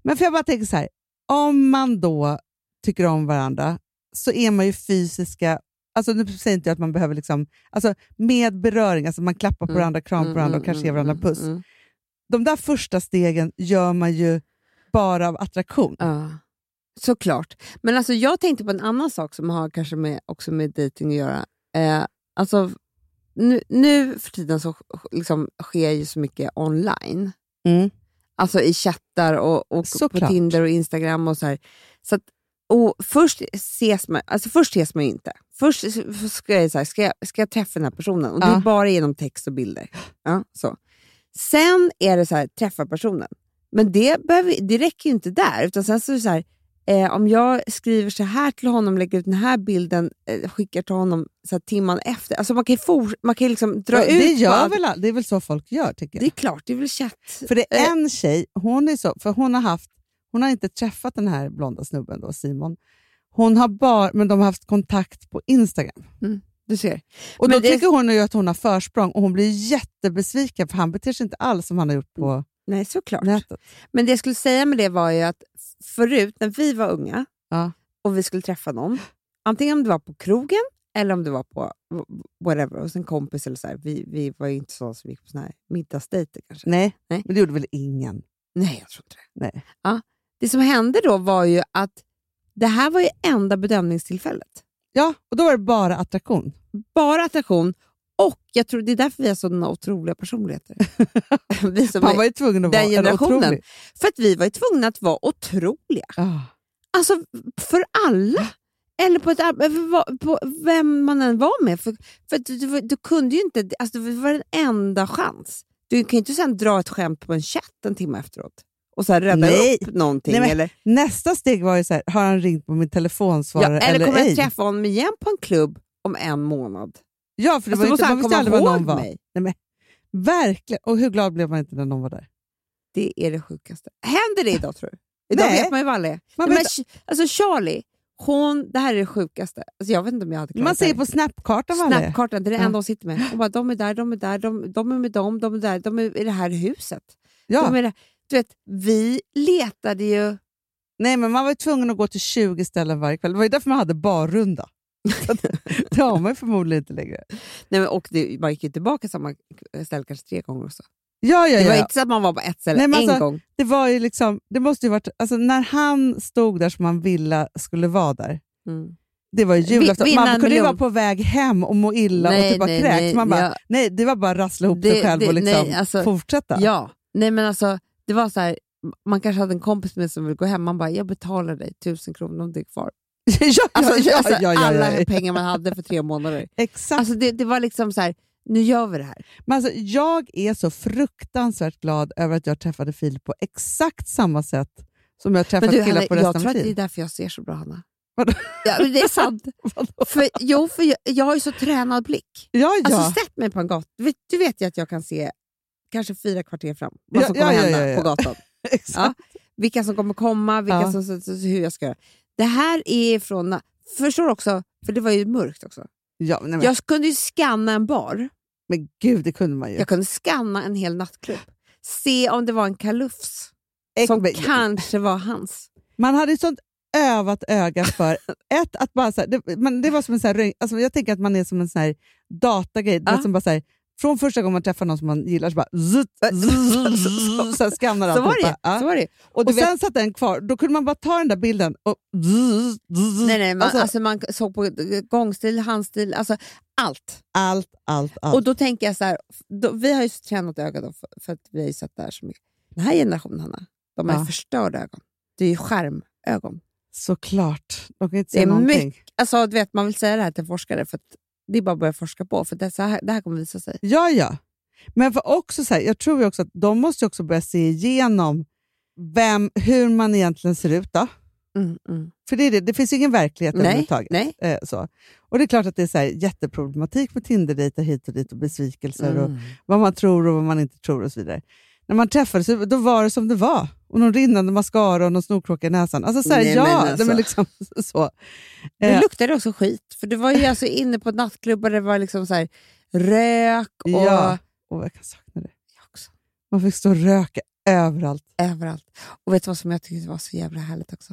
Speaker 3: Men för jag bara tänker så här, om man då tycker om varandra så är man ju fysiska, alltså nu säger inte jag att man behöver liksom, alltså med beröring, alltså man klappar på
Speaker 2: Mm,
Speaker 3: varandra, kramar på varandra och kanske ger varandra en puss.
Speaker 2: Mm,
Speaker 3: De där första stegen gör man ju bara av attraktion.
Speaker 2: Ja, såklart. Men alltså, jag tänkte på en annan sak som har kanske med, också med dejting att göra. Eh, alltså, nu, nu för tiden så liksom, sker ju så mycket online.
Speaker 3: Mm.
Speaker 2: Alltså i chattar och, och på
Speaker 3: Såklart.
Speaker 2: Tinder och Instagram och så här. Så att, och först ses man alltså först ses man ju inte. Först s- ska jag, så här, ska jag, ska jag träffa den här personen och det är
Speaker 3: Ja.
Speaker 2: bara genom text och bilder. Ja, så. Sen är det så här, träffa personen. Men det, behöver, det räcker ju inte där. Utan sen så är det så här, eh, om jag skriver så här till honom, lägger ut den här bilden, eh, skickar till honom så här, timman efter. Alltså man kan ju, for, man kan ju liksom dra
Speaker 3: Ja,
Speaker 2: ut
Speaker 3: det,
Speaker 2: på
Speaker 3: gör
Speaker 2: allt.
Speaker 3: väl, all- det är väl så folk gör tycker
Speaker 2: Det
Speaker 3: jag.
Speaker 2: är klart, det är väl chatt.
Speaker 3: För det
Speaker 2: eh.
Speaker 3: är en tjej, hon, är så, för hon har haft hon har inte träffat den här blonda snubben då, Simon. Hon har bara, men de har haft kontakt på Instagram.
Speaker 2: Du ser.
Speaker 3: Och
Speaker 2: Men
Speaker 3: Då
Speaker 2: det-
Speaker 3: tycker hon ju att hon har försprång och hon blir jättebesviken för han beter sig inte alls som han har gjort på
Speaker 2: Nej, såklart.
Speaker 3: nätet.
Speaker 2: Men det jag skulle säga med det var ju att förut när vi var unga
Speaker 3: Ja.
Speaker 2: och vi skulle träffa någon, antingen om det var på krogen eller om det var på w- whatever, hos en kompis eller så här. Vi, vi var ju inte sådana som gick på såna här middagsdejter kanske.
Speaker 3: Nej,
Speaker 2: Nej.
Speaker 3: men det gjorde väl ingen.
Speaker 2: Nej, jag tror inte det.
Speaker 3: Nej.
Speaker 2: Ja. Det som hände då var ju att det här var ju enda bedömningstillfället.
Speaker 3: Ja, och då var det bara attraktion.
Speaker 2: Bara attraktion och jag tror det är därför vi har sådana otroliga personligheter. vi som
Speaker 3: Han var
Speaker 2: är,
Speaker 3: ju tvungen att
Speaker 2: den
Speaker 3: vara en
Speaker 2: generationen.
Speaker 3: otrolig.
Speaker 2: för att vi var ju tvungna att vara otroliga.
Speaker 3: Ja.
Speaker 2: Alltså för alla. Eller på, ett, ar- för vad- på vem man än var med. För, för att du, du, du kunde ju inte, alltså det var den enda chans. Du kan ju inte sen dra ett skämt på en chatt en timme efteråt och så här rädda
Speaker 3: Nej.
Speaker 2: upp någonting.
Speaker 3: Nej, men-
Speaker 2: eller
Speaker 3: Nästa steg var ju så här, har han ringt på min
Speaker 2: ja,
Speaker 3: telefonsvarare
Speaker 2: eller,
Speaker 3: eller,
Speaker 2: kommer
Speaker 3: ej?
Speaker 2: jag träffa honom igen på en klubb om en månad?
Speaker 3: Ja, för
Speaker 2: Alltså,
Speaker 3: det var ju
Speaker 2: måste
Speaker 3: inte,
Speaker 2: han
Speaker 3: man visste
Speaker 2: komma
Speaker 3: aldrig var någon
Speaker 2: ihåg
Speaker 3: var.
Speaker 2: mig?
Speaker 3: Verkligen. Och hur glad blev man inte när någon var där?
Speaker 2: Det är det sjukaste. Händer det idag tror du? Idag
Speaker 3: Nej.
Speaker 2: vet man ju vad alla är. Nej,
Speaker 3: Man,
Speaker 2: men,
Speaker 3: vet,
Speaker 2: Ch- alltså Charlie, hon, det här är det sjukaste. Alltså, jag vet inte om jag hade klarat
Speaker 3: man
Speaker 2: det här.
Speaker 3: ser på snapkartan vad alla är.
Speaker 2: Snapkartan, det är det
Speaker 3: Ja.
Speaker 2: enda hon sitter med. Hon bara, de är där, de är där, de, de är med dem, de är där, de är i det här huset. De
Speaker 3: Ja.
Speaker 2: är där. Du vet, vi letade ju...
Speaker 3: Nej, men man var ju tvungen att gå till 20 ställen varje kväll. Det var ju därför man hade barrunda. Så att- det har man ju förmodligen inte längre.
Speaker 2: Nej, men, och det, man gick ju tillbaka samma ställe kanske tre gånger också.
Speaker 3: Ja, ja,
Speaker 2: Det var
Speaker 3: ja.
Speaker 2: inte så att man var på ett ställe
Speaker 3: Nej, men
Speaker 2: en
Speaker 3: alltså-
Speaker 2: gång.
Speaker 3: Det var ju liksom, det måste ju varit, alltså när han stod där som han ville skulle vara där,
Speaker 2: Mm.
Speaker 3: det var ju
Speaker 2: Vi-
Speaker 3: julafton.
Speaker 2: vinna
Speaker 3: Man
Speaker 2: en
Speaker 3: kunde ju
Speaker 2: miljon.
Speaker 3: vara på väg hem och må illa och
Speaker 2: Nej,
Speaker 3: typ bara
Speaker 2: nej,
Speaker 3: kräks.
Speaker 2: nej,
Speaker 3: Man bara,
Speaker 2: ja.
Speaker 3: nej, det var bara att rassla ihop
Speaker 2: Det-
Speaker 3: sig själv
Speaker 2: det-
Speaker 3: och liksom
Speaker 2: nej, alltså-
Speaker 3: fortsätta.
Speaker 2: Ja, nej men alltså det var så här, man kanske hade en kompis med som ville gå hem, man bara jag betalar dig tusen kronor om det är kvar.
Speaker 3: ja,
Speaker 2: Alltså,
Speaker 3: ja,
Speaker 2: alltså,
Speaker 3: ja, ja,
Speaker 2: alla
Speaker 3: ja, ja.
Speaker 2: pengar man hade för tre månader.
Speaker 3: Exakt.
Speaker 2: Alltså det, det var liksom så här, nu gör vi det här.
Speaker 3: Men alltså, jag är så fruktansvärt glad över att jag träffade Filip på exakt samma sätt som jag träffat
Speaker 2: Men du,
Speaker 3: killar
Speaker 2: Hanna,
Speaker 3: på
Speaker 2: jag
Speaker 3: resten
Speaker 2: tror
Speaker 3: av
Speaker 2: att
Speaker 3: mitt
Speaker 2: det är
Speaker 3: liv.
Speaker 2: därför jag ser så bra Hanna.
Speaker 3: Vadå?
Speaker 2: Ja, men det är sant.
Speaker 3: Vadå?
Speaker 2: För, jo, för jag, jag har ju så tränad blick.
Speaker 3: Ja, ja.
Speaker 2: Alltså sätt mig på en gata, du vet, du vet ju att jag kan se kanske fyra kvarter fram vad
Speaker 3: Ja,
Speaker 2: som kommer
Speaker 3: ja, ja,
Speaker 2: hända
Speaker 3: ja, ja.
Speaker 2: på gatan.
Speaker 3: exakt.
Speaker 2: vilka som kommer komma, vilka
Speaker 3: Ja.
Speaker 2: som, så, så, så, hur jag ska göra. Det här är från... na- Förstår också, för det var ju mörkt också.
Speaker 3: Ja, nej, men,
Speaker 2: Jag kunde ju scanna en bar.
Speaker 3: men gud, det kunde man ju.
Speaker 2: Jag kunde scanna en hel nattklubb. Se om det var en kalufs som
Speaker 3: men,
Speaker 2: kanske var hans.
Speaker 3: Man hade ett sånt övat öga för ett, att bara så här, det, man, det var som en så här, röj- alltså jag tänker att man är som en sån här datagrej. Det är
Speaker 2: Ja.
Speaker 3: som bara så här, från första gången man träffar någon som man gillar så bara zut, zut, zut, så här skannar
Speaker 2: Äh, Så var det,
Speaker 3: alltihopa. Ja.
Speaker 2: så var det. Och
Speaker 3: Och,
Speaker 2: du vet,
Speaker 3: sen satt den kvar. Då kunde man bara ta den där bilden och...
Speaker 2: nej, nej, man,
Speaker 3: alltså,
Speaker 2: alltså, man såg på gångstil, handstil, alltså allt.
Speaker 3: allt, allt, allt.
Speaker 2: Och då tänker jag så här, då, vi har ju tränat ögat då, för, för att vi har ju sett det här så mycket. Den här generationen, Hanna, de har ju
Speaker 3: Ja.
Speaker 2: förstörda ögon. Det är ju skärmögon.
Speaker 3: Såklart. De kan inte
Speaker 2: Det
Speaker 3: se
Speaker 2: är
Speaker 3: någonting.
Speaker 2: alltså, du vet, man vill säga det här till forskare, för att det är bara att börja forska på, för det, så här, det här kommer visa sig.
Speaker 3: Ja, ja. Men för också så här, jag tror ju också att de måste ju också börja se igenom vem, hur man egentligen ser ut. Då. Mm, För det, är det. det finns ju ingen verklighet
Speaker 2: Nej,
Speaker 3: överhuvudtaget.
Speaker 2: nej.
Speaker 3: Eh, så. Och det är klart att det är så här, jätteproblematik med Tinderdejter hit och dit och besvikelser och
Speaker 2: Mm.
Speaker 3: vad man tror och vad man inte tror och så vidare. När man träffades, då var det som det var. Och någon rinnande mascara och någon snorkråka i näsan. Alltså så här,
Speaker 2: Nej,
Speaker 3: ja,
Speaker 2: men
Speaker 3: nej, men
Speaker 2: alltså.
Speaker 3: liksom så.
Speaker 2: Det
Speaker 3: Eh,
Speaker 2: luktade också skit, för du var ju alltså inne på nattklubbar där det var liksom så här, rök och
Speaker 3: ja. Åh, jag kan sakna det.
Speaker 2: Jag också.
Speaker 3: Man fick stå och röka överallt.
Speaker 2: överallt. Och vet du vad som jag tyckte var så jävla härligt också?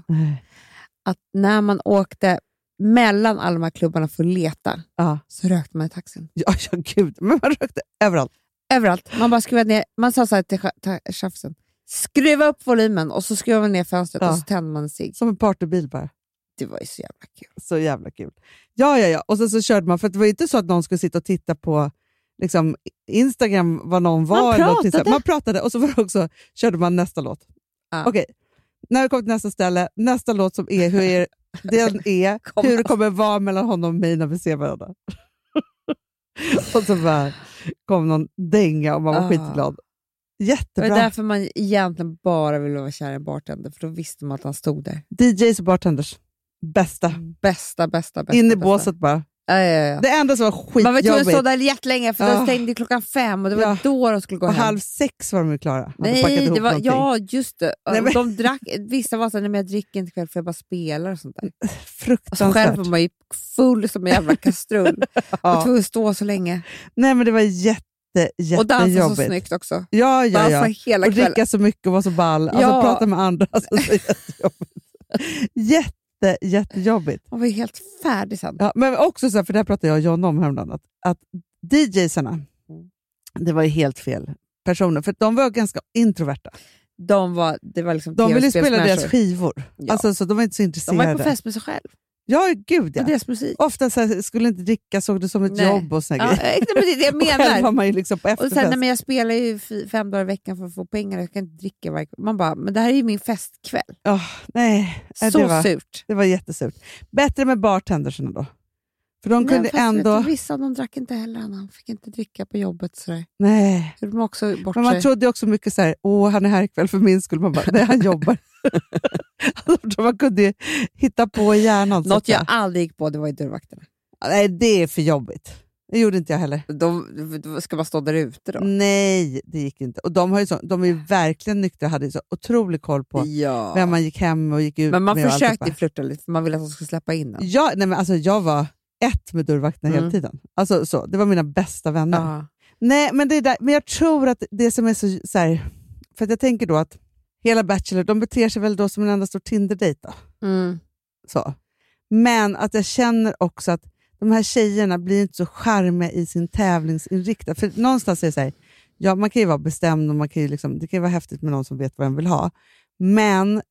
Speaker 2: Att när man åkte mellan alla de här klubbarna för att leta,
Speaker 3: Ja.
Speaker 2: så rökte man i taxin.
Speaker 3: Ja, ja, gud. Men man rökte överallt.
Speaker 2: Överallt. Man bara skruvade ner, man sa så här till cha- ta- chauffören, skruva upp volymen och så skruvar man ner fönstret
Speaker 3: Ja.
Speaker 2: och så tänder man en cigg.
Speaker 3: Som en partybil bara.
Speaker 2: Det var ju så jävla kul.
Speaker 3: Så jävla kul. Ja, ja, ja. Och sen så körde man, för det var ju inte så att någon skulle sitta och titta på liksom, Instagram vad någon var. eller någonting så här.
Speaker 2: pratade.
Speaker 3: man pratade. Och så var det också, körde man nästa låt.
Speaker 2: Ja.
Speaker 3: Okej, när vi kommer till nästa ställe, nästa låt som är hur er, den är,
Speaker 2: Kommer.
Speaker 3: hur det kommer vara mellan honom och mig när vi ser varandra. och så bara kom någon dänga och man var
Speaker 2: Ah.
Speaker 3: skitglad.
Speaker 2: Det var
Speaker 3: Jättebra.
Speaker 2: därför man egentligen bara ville vara kär i en bartender, för då visste man att han stod där.
Speaker 3: DJs och bartenders. Bästa.
Speaker 2: Bästa, bästa, Mm, bästa.
Speaker 3: In i
Speaker 2: bästa.
Speaker 3: båset bara.
Speaker 2: Ja, ja, ja.
Speaker 3: Det enda som var skitjobbigt.
Speaker 2: Man var tvungen att stå där jättelänge, för
Speaker 3: Ah.
Speaker 2: den stängde klockan fem och det var
Speaker 3: Ja.
Speaker 2: då de skulle gå
Speaker 3: På
Speaker 2: hem.
Speaker 3: halv sex var de ju klara. Hade packat
Speaker 2: Nej,
Speaker 3: ihop
Speaker 2: det var,
Speaker 3: någonting.
Speaker 2: ja, just det.
Speaker 3: Nej, men-
Speaker 2: De drack, vissa var såhär, nej men jag dricker inte ikväll för jag bara spelar och sånt där. Och så
Speaker 3: Fruktansvärt.
Speaker 2: själv var man ju full som en jävla kastrull. Och
Speaker 3: ja.
Speaker 2: tvungen att stå så länge.
Speaker 3: Nej, men det var jätte, jättejobbigt.
Speaker 2: Och dansa så snyggt också.
Speaker 3: Ja, ja,
Speaker 2: Dansa
Speaker 3: ja.
Speaker 2: hela
Speaker 3: Och
Speaker 2: kvällen.
Speaker 3: dricka så mycket och vara så ball. Alltså
Speaker 2: Ja.
Speaker 3: prata med andra. Alltså, så jättejobbigt. Jätte, jättejobbigt.
Speaker 2: Man var ju helt färdig sen.
Speaker 3: Ja, men också så här, för det här pratade jag och John om häromdagen, att, att DJsarna,
Speaker 2: Mm.
Speaker 3: det var ju helt fel personer, för de var ganska introverta.
Speaker 2: De var, det var liksom
Speaker 3: De ville spela
Speaker 2: TV-spelsmänniskor.
Speaker 3: deras skivor,
Speaker 2: Ja.
Speaker 3: alltså, så de var inte så
Speaker 2: De
Speaker 3: intresserade.
Speaker 2: var ju på fest med sig själv.
Speaker 3: Ja, gud ja.
Speaker 2: Och deras musik.
Speaker 3: Ofta så här, skulle inte dricka, såg det som ett
Speaker 2: Nej.
Speaker 3: jobb och såna
Speaker 2: Ja,
Speaker 3: grejer.
Speaker 2: nej, men det är det jag
Speaker 3: Och Själv var
Speaker 2: menar.
Speaker 3: man ju liksom på
Speaker 2: Och
Speaker 3: efterfest.
Speaker 2: sen, nej, men jag spelar ju fy- fem dagar i veckan för att få pengar. Jag kan inte dricka varje kväll. Man bara, men det här är ju min festkväll.
Speaker 3: Åh, nej, Nej,
Speaker 2: Så
Speaker 3: det, var,
Speaker 2: surt.
Speaker 3: det var jättesurt. Bättre med bartendersarna då. För de kunde
Speaker 2: nej, fast
Speaker 3: ändå...
Speaker 2: vet du, vissa av dem drack inte heller. Han fick inte dricka på jobbet. Sådär.
Speaker 3: Nej.
Speaker 2: Gjorde de också bort
Speaker 3: Men man
Speaker 2: sig.
Speaker 3: trodde ju också mycket så här, åh han är här ikväll för min skull. Man bara, nej han jobbar. Alltså, man kunde ju hitta på i hjärnan. så
Speaker 2: Något
Speaker 3: att säga.
Speaker 2: jag aldrig gick på det var ju dörrvakterna.
Speaker 3: Nej, det är för jobbigt. Det gjorde inte jag heller.
Speaker 2: De, då ska man stå där ute då?
Speaker 4: Mm.
Speaker 3: Nej, det gick inte. Och de, har ju så, de är ju verkligen nyktra och hade ju så otrolig koll på
Speaker 2: Ja.
Speaker 3: vem man gick hem och gick ut
Speaker 2: Men man
Speaker 3: med och
Speaker 2: försökte
Speaker 3: alltihopa.
Speaker 2: ju flirta lite för man ville att de skulle släppa in en.
Speaker 3: Ja, nej men alltså jag var ett med dörrvakterna hela
Speaker 2: Mm.
Speaker 3: tiden. Alltså, så, det var mina bästa vänner.
Speaker 2: Ja.
Speaker 3: Nej, men, det är där, men jag tror att det som är så... så här, för att jag tänker då att hela Bachelor, de beter sig väl då som en enda stor Tinder-dejt. då,
Speaker 2: Mm.
Speaker 3: Så. Men att jag känner också att de här tjejerna blir inte så charmiga i sin tävlingsinriktning. För någonstans är det så här, ja, man kan ju vara bestämd och man kan ju liksom, det kan ju vara häftigt med någon som vet vad den vill ha. Men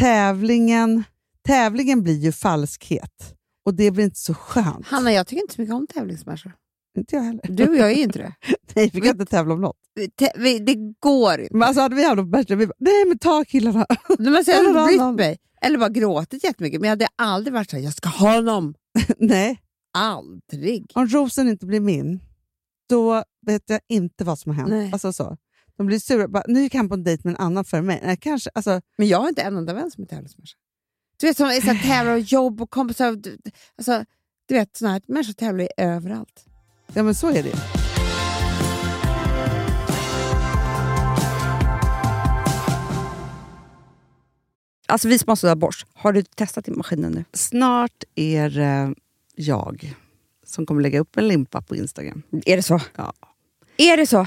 Speaker 3: tävlingen, tävlingen blir ju falskhet och det blir inte så skönt.
Speaker 4: Hanna, jag tycker inte så mycket om tävlingsmänniskor.
Speaker 3: Inte jag heller.
Speaker 4: Du och jag är ju inte det.
Speaker 3: Nej, vi kan inte tävla om något.
Speaker 4: Vi tä- vi- Det går inte.
Speaker 3: Men alltså hade vi haft något bättre, vi bara, nej men ta killarna.
Speaker 4: Men alltså, jag hade
Speaker 3: Eller
Speaker 4: inte
Speaker 3: annan.
Speaker 4: brytt mig. Eller bara gråtit jättemycket. Men jag hade aldrig varit så här, jag ska ha honom.
Speaker 3: nej,
Speaker 4: Aldrig.
Speaker 3: om rosen inte blir min, då vet jag inte vad som har hänt.
Speaker 4: Nej.
Speaker 3: Alltså så. De blir sura. Bara, nu gick han på en dejt med en annan före mig. Nej, kanske, alltså,
Speaker 4: Men jag har inte en enda vän som är tävlingsmänniska. Du vet, som är så här, tävlar och jobb och kompisar. och du- Alltså, du vet, såna här människor tävlar ju överallt.
Speaker 3: ja, men så är det ju.
Speaker 4: Alltså vi som har sådär borst, har du testat i maskinen nu?
Speaker 3: Snart är eh, jag som kommer lägga upp en limpa på Instagram.
Speaker 4: Är det så?
Speaker 3: Ja.
Speaker 4: Är det så?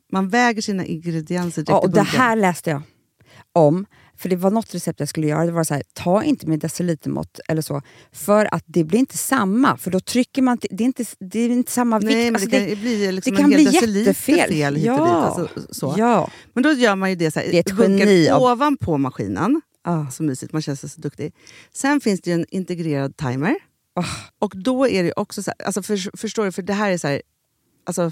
Speaker 3: man väger sina ingredienser direkt
Speaker 2: Ja,
Speaker 3: i
Speaker 2: och det
Speaker 3: bunken.
Speaker 2: här läste jag om. För det var något recept jag skulle göra. Det var så här, ta inte med decilitermått eller så. För att det blir inte samma. För då trycker man... till- Det är inte, det är inte samma vikt.
Speaker 3: Nej, men
Speaker 2: Alltså,
Speaker 3: det kan ju bli liksom
Speaker 2: det kan
Speaker 3: en hel
Speaker 2: bli
Speaker 3: deciliter
Speaker 2: jättefel.
Speaker 3: fel hit och
Speaker 2: Ja.
Speaker 3: dit. Alltså, så.
Speaker 2: Ja.
Speaker 3: Men då gör man ju det så här,
Speaker 2: Det är ett
Speaker 3: bunkar
Speaker 2: geni av-
Speaker 3: ovanpå maskinen.
Speaker 2: Ah.
Speaker 3: Så mysigt, man känns så duktig. Sen finns det ju en integrerad timer.
Speaker 2: Ah.
Speaker 3: Och då är det ju också så här, alltså för, förstår du, för det här är så här, alltså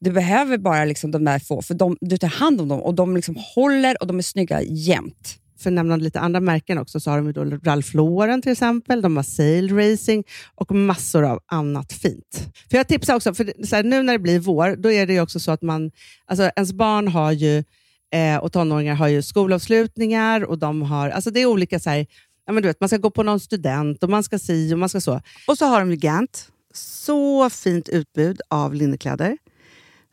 Speaker 2: Du behöver bara liksom de där få, för de, du tar hand om dem och de liksom håller och de är snygga jämt.
Speaker 3: för att nämna lite andra märken också, så har de ju då Ralph Lauren till exempel, de har Sail Racing och massor av annat fint. För Jag tipsar också, för det- så här, nu när det blir vår, då är det ju också så att man, alltså ens barn har ju, eh, och tonåringar har ju skolavslutningar och de har, alltså det är olika så här, ja, men du vet, man ska gå på någon student och man ska si och man ska så. Och så har de ju Gant, så fint utbud av linnekläder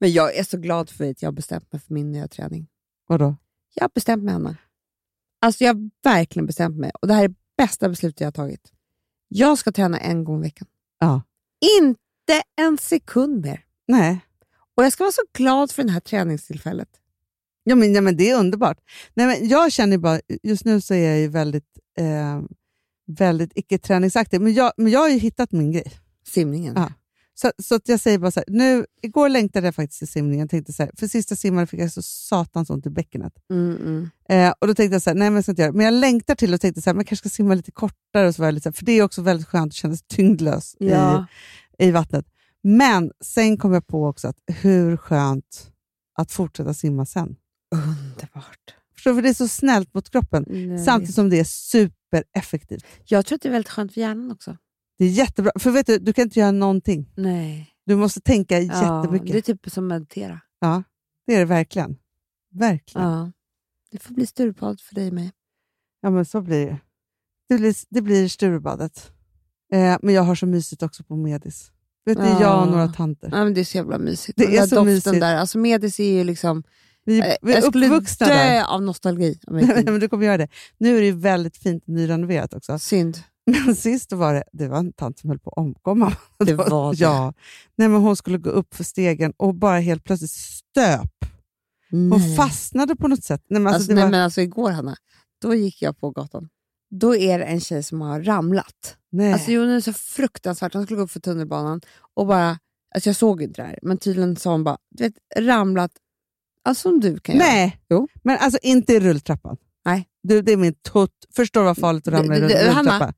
Speaker 2: Men jag är så glad för att jag har bestämt mig för min nya träning.
Speaker 3: Vadå?
Speaker 2: Jag har bestämt mig, Anna. Alltså jag har verkligen bestämt mig. Och det här är bästa beslutet jag har tagit. Jag ska träna en gång i veckan.
Speaker 3: Ja.
Speaker 2: Inte en sekund mer.
Speaker 3: Nej.
Speaker 2: Och jag ska vara så glad för det här träningstillfället.
Speaker 3: Ja, men, ja, men det är underbart. Nej, men jag känner ju bara, just nu så är jag ju väldigt, eh, väldigt icke-träningsaktig, men jag, men jag har ju hittat min grej.
Speaker 2: Simningen.
Speaker 3: Ja. Så, så att jag säger bara så här, nu, igår längtade jag faktiskt till simningen. Jag tänkte så här, för sista simman fick jag så satans ont i bäckenet.
Speaker 2: Mm, mm.
Speaker 3: Eh, och då tänkte jag så här, nej men jag ska inte göra det. Men jag längtar till och tänkte så här, man kanske ska simma lite kortare. Och så var jag lite så här, för det är också väldigt skönt att känna sig tyngdlös
Speaker 2: Ja.
Speaker 3: i, i vattnet. Men sen kom jag på också att hur skönt att fortsätta simma sen.
Speaker 2: Underbart.
Speaker 3: Förstår du? För det är så snällt mot kroppen,
Speaker 2: Mm.
Speaker 3: samtidigt som det är supereffektivt.
Speaker 2: Jag tror att det är väldigt skönt för hjärnan också.
Speaker 3: Det är jättebra, för vet du, du kan inte göra någonting.
Speaker 2: Nej.
Speaker 3: Du måste tänka
Speaker 2: Ja,
Speaker 3: jättemycket.
Speaker 2: det är typ som meditera.
Speaker 3: Ja, det är det verkligen. Verkligen. Ja,
Speaker 2: Ja. Det får bli Sturepad för dig med.
Speaker 3: men så blir det. Det blir, det blir Sturebadet. Eh, men jag har så mysigt också på Medis. Vet ni,
Speaker 2: Ja.
Speaker 3: jag och några tanter.
Speaker 2: Ja, men det är så jävla mysigt.
Speaker 3: Det
Speaker 2: Den
Speaker 3: är
Speaker 2: där
Speaker 3: så
Speaker 2: doften
Speaker 3: mysigt.
Speaker 2: Där. Alltså, medis är ju liksom...
Speaker 3: Typ, Vi, vi
Speaker 2: jag
Speaker 3: är
Speaker 2: skulle
Speaker 3: uppvuxna
Speaker 2: dö
Speaker 3: där.
Speaker 2: av nostalgi. Om jag
Speaker 3: Nej,
Speaker 2: gick in.
Speaker 3: men du kommer göra det. Nu är det ju väldigt fint nyrenoverat också.
Speaker 2: Synd.
Speaker 3: Men sist då var det, det var en tant som höll på att omkomma.
Speaker 2: Det var det.
Speaker 3: Ja. Nej, men hon skulle gå upp för stegen och bara helt plötsligt stöp. Hon
Speaker 2: Nej.
Speaker 3: fastnade på något sätt. Nej, men
Speaker 2: Alltså,
Speaker 3: alltså, det
Speaker 2: nej,
Speaker 3: var,
Speaker 2: men alltså igår Hanna, då gick jag på gatan. Då är det en tjej som har ramlat.
Speaker 3: nej.
Speaker 2: Alltså hon är så fruktansvärt. Hon skulle gå upp för tunnelbanan och bara, alltså jag såg inte det här, men tydligen sa hon bara, du vet, ramlat, alltså som du kan göra.
Speaker 3: Nej,
Speaker 2: Jo.
Speaker 3: men alltså inte i rulltrappan.
Speaker 2: Nej.
Speaker 3: Du, det är min tot. Förstår du vad farligt att ramla i
Speaker 2: Det- det-
Speaker 3: rull-
Speaker 2: Hanna,
Speaker 3: rulltrappa?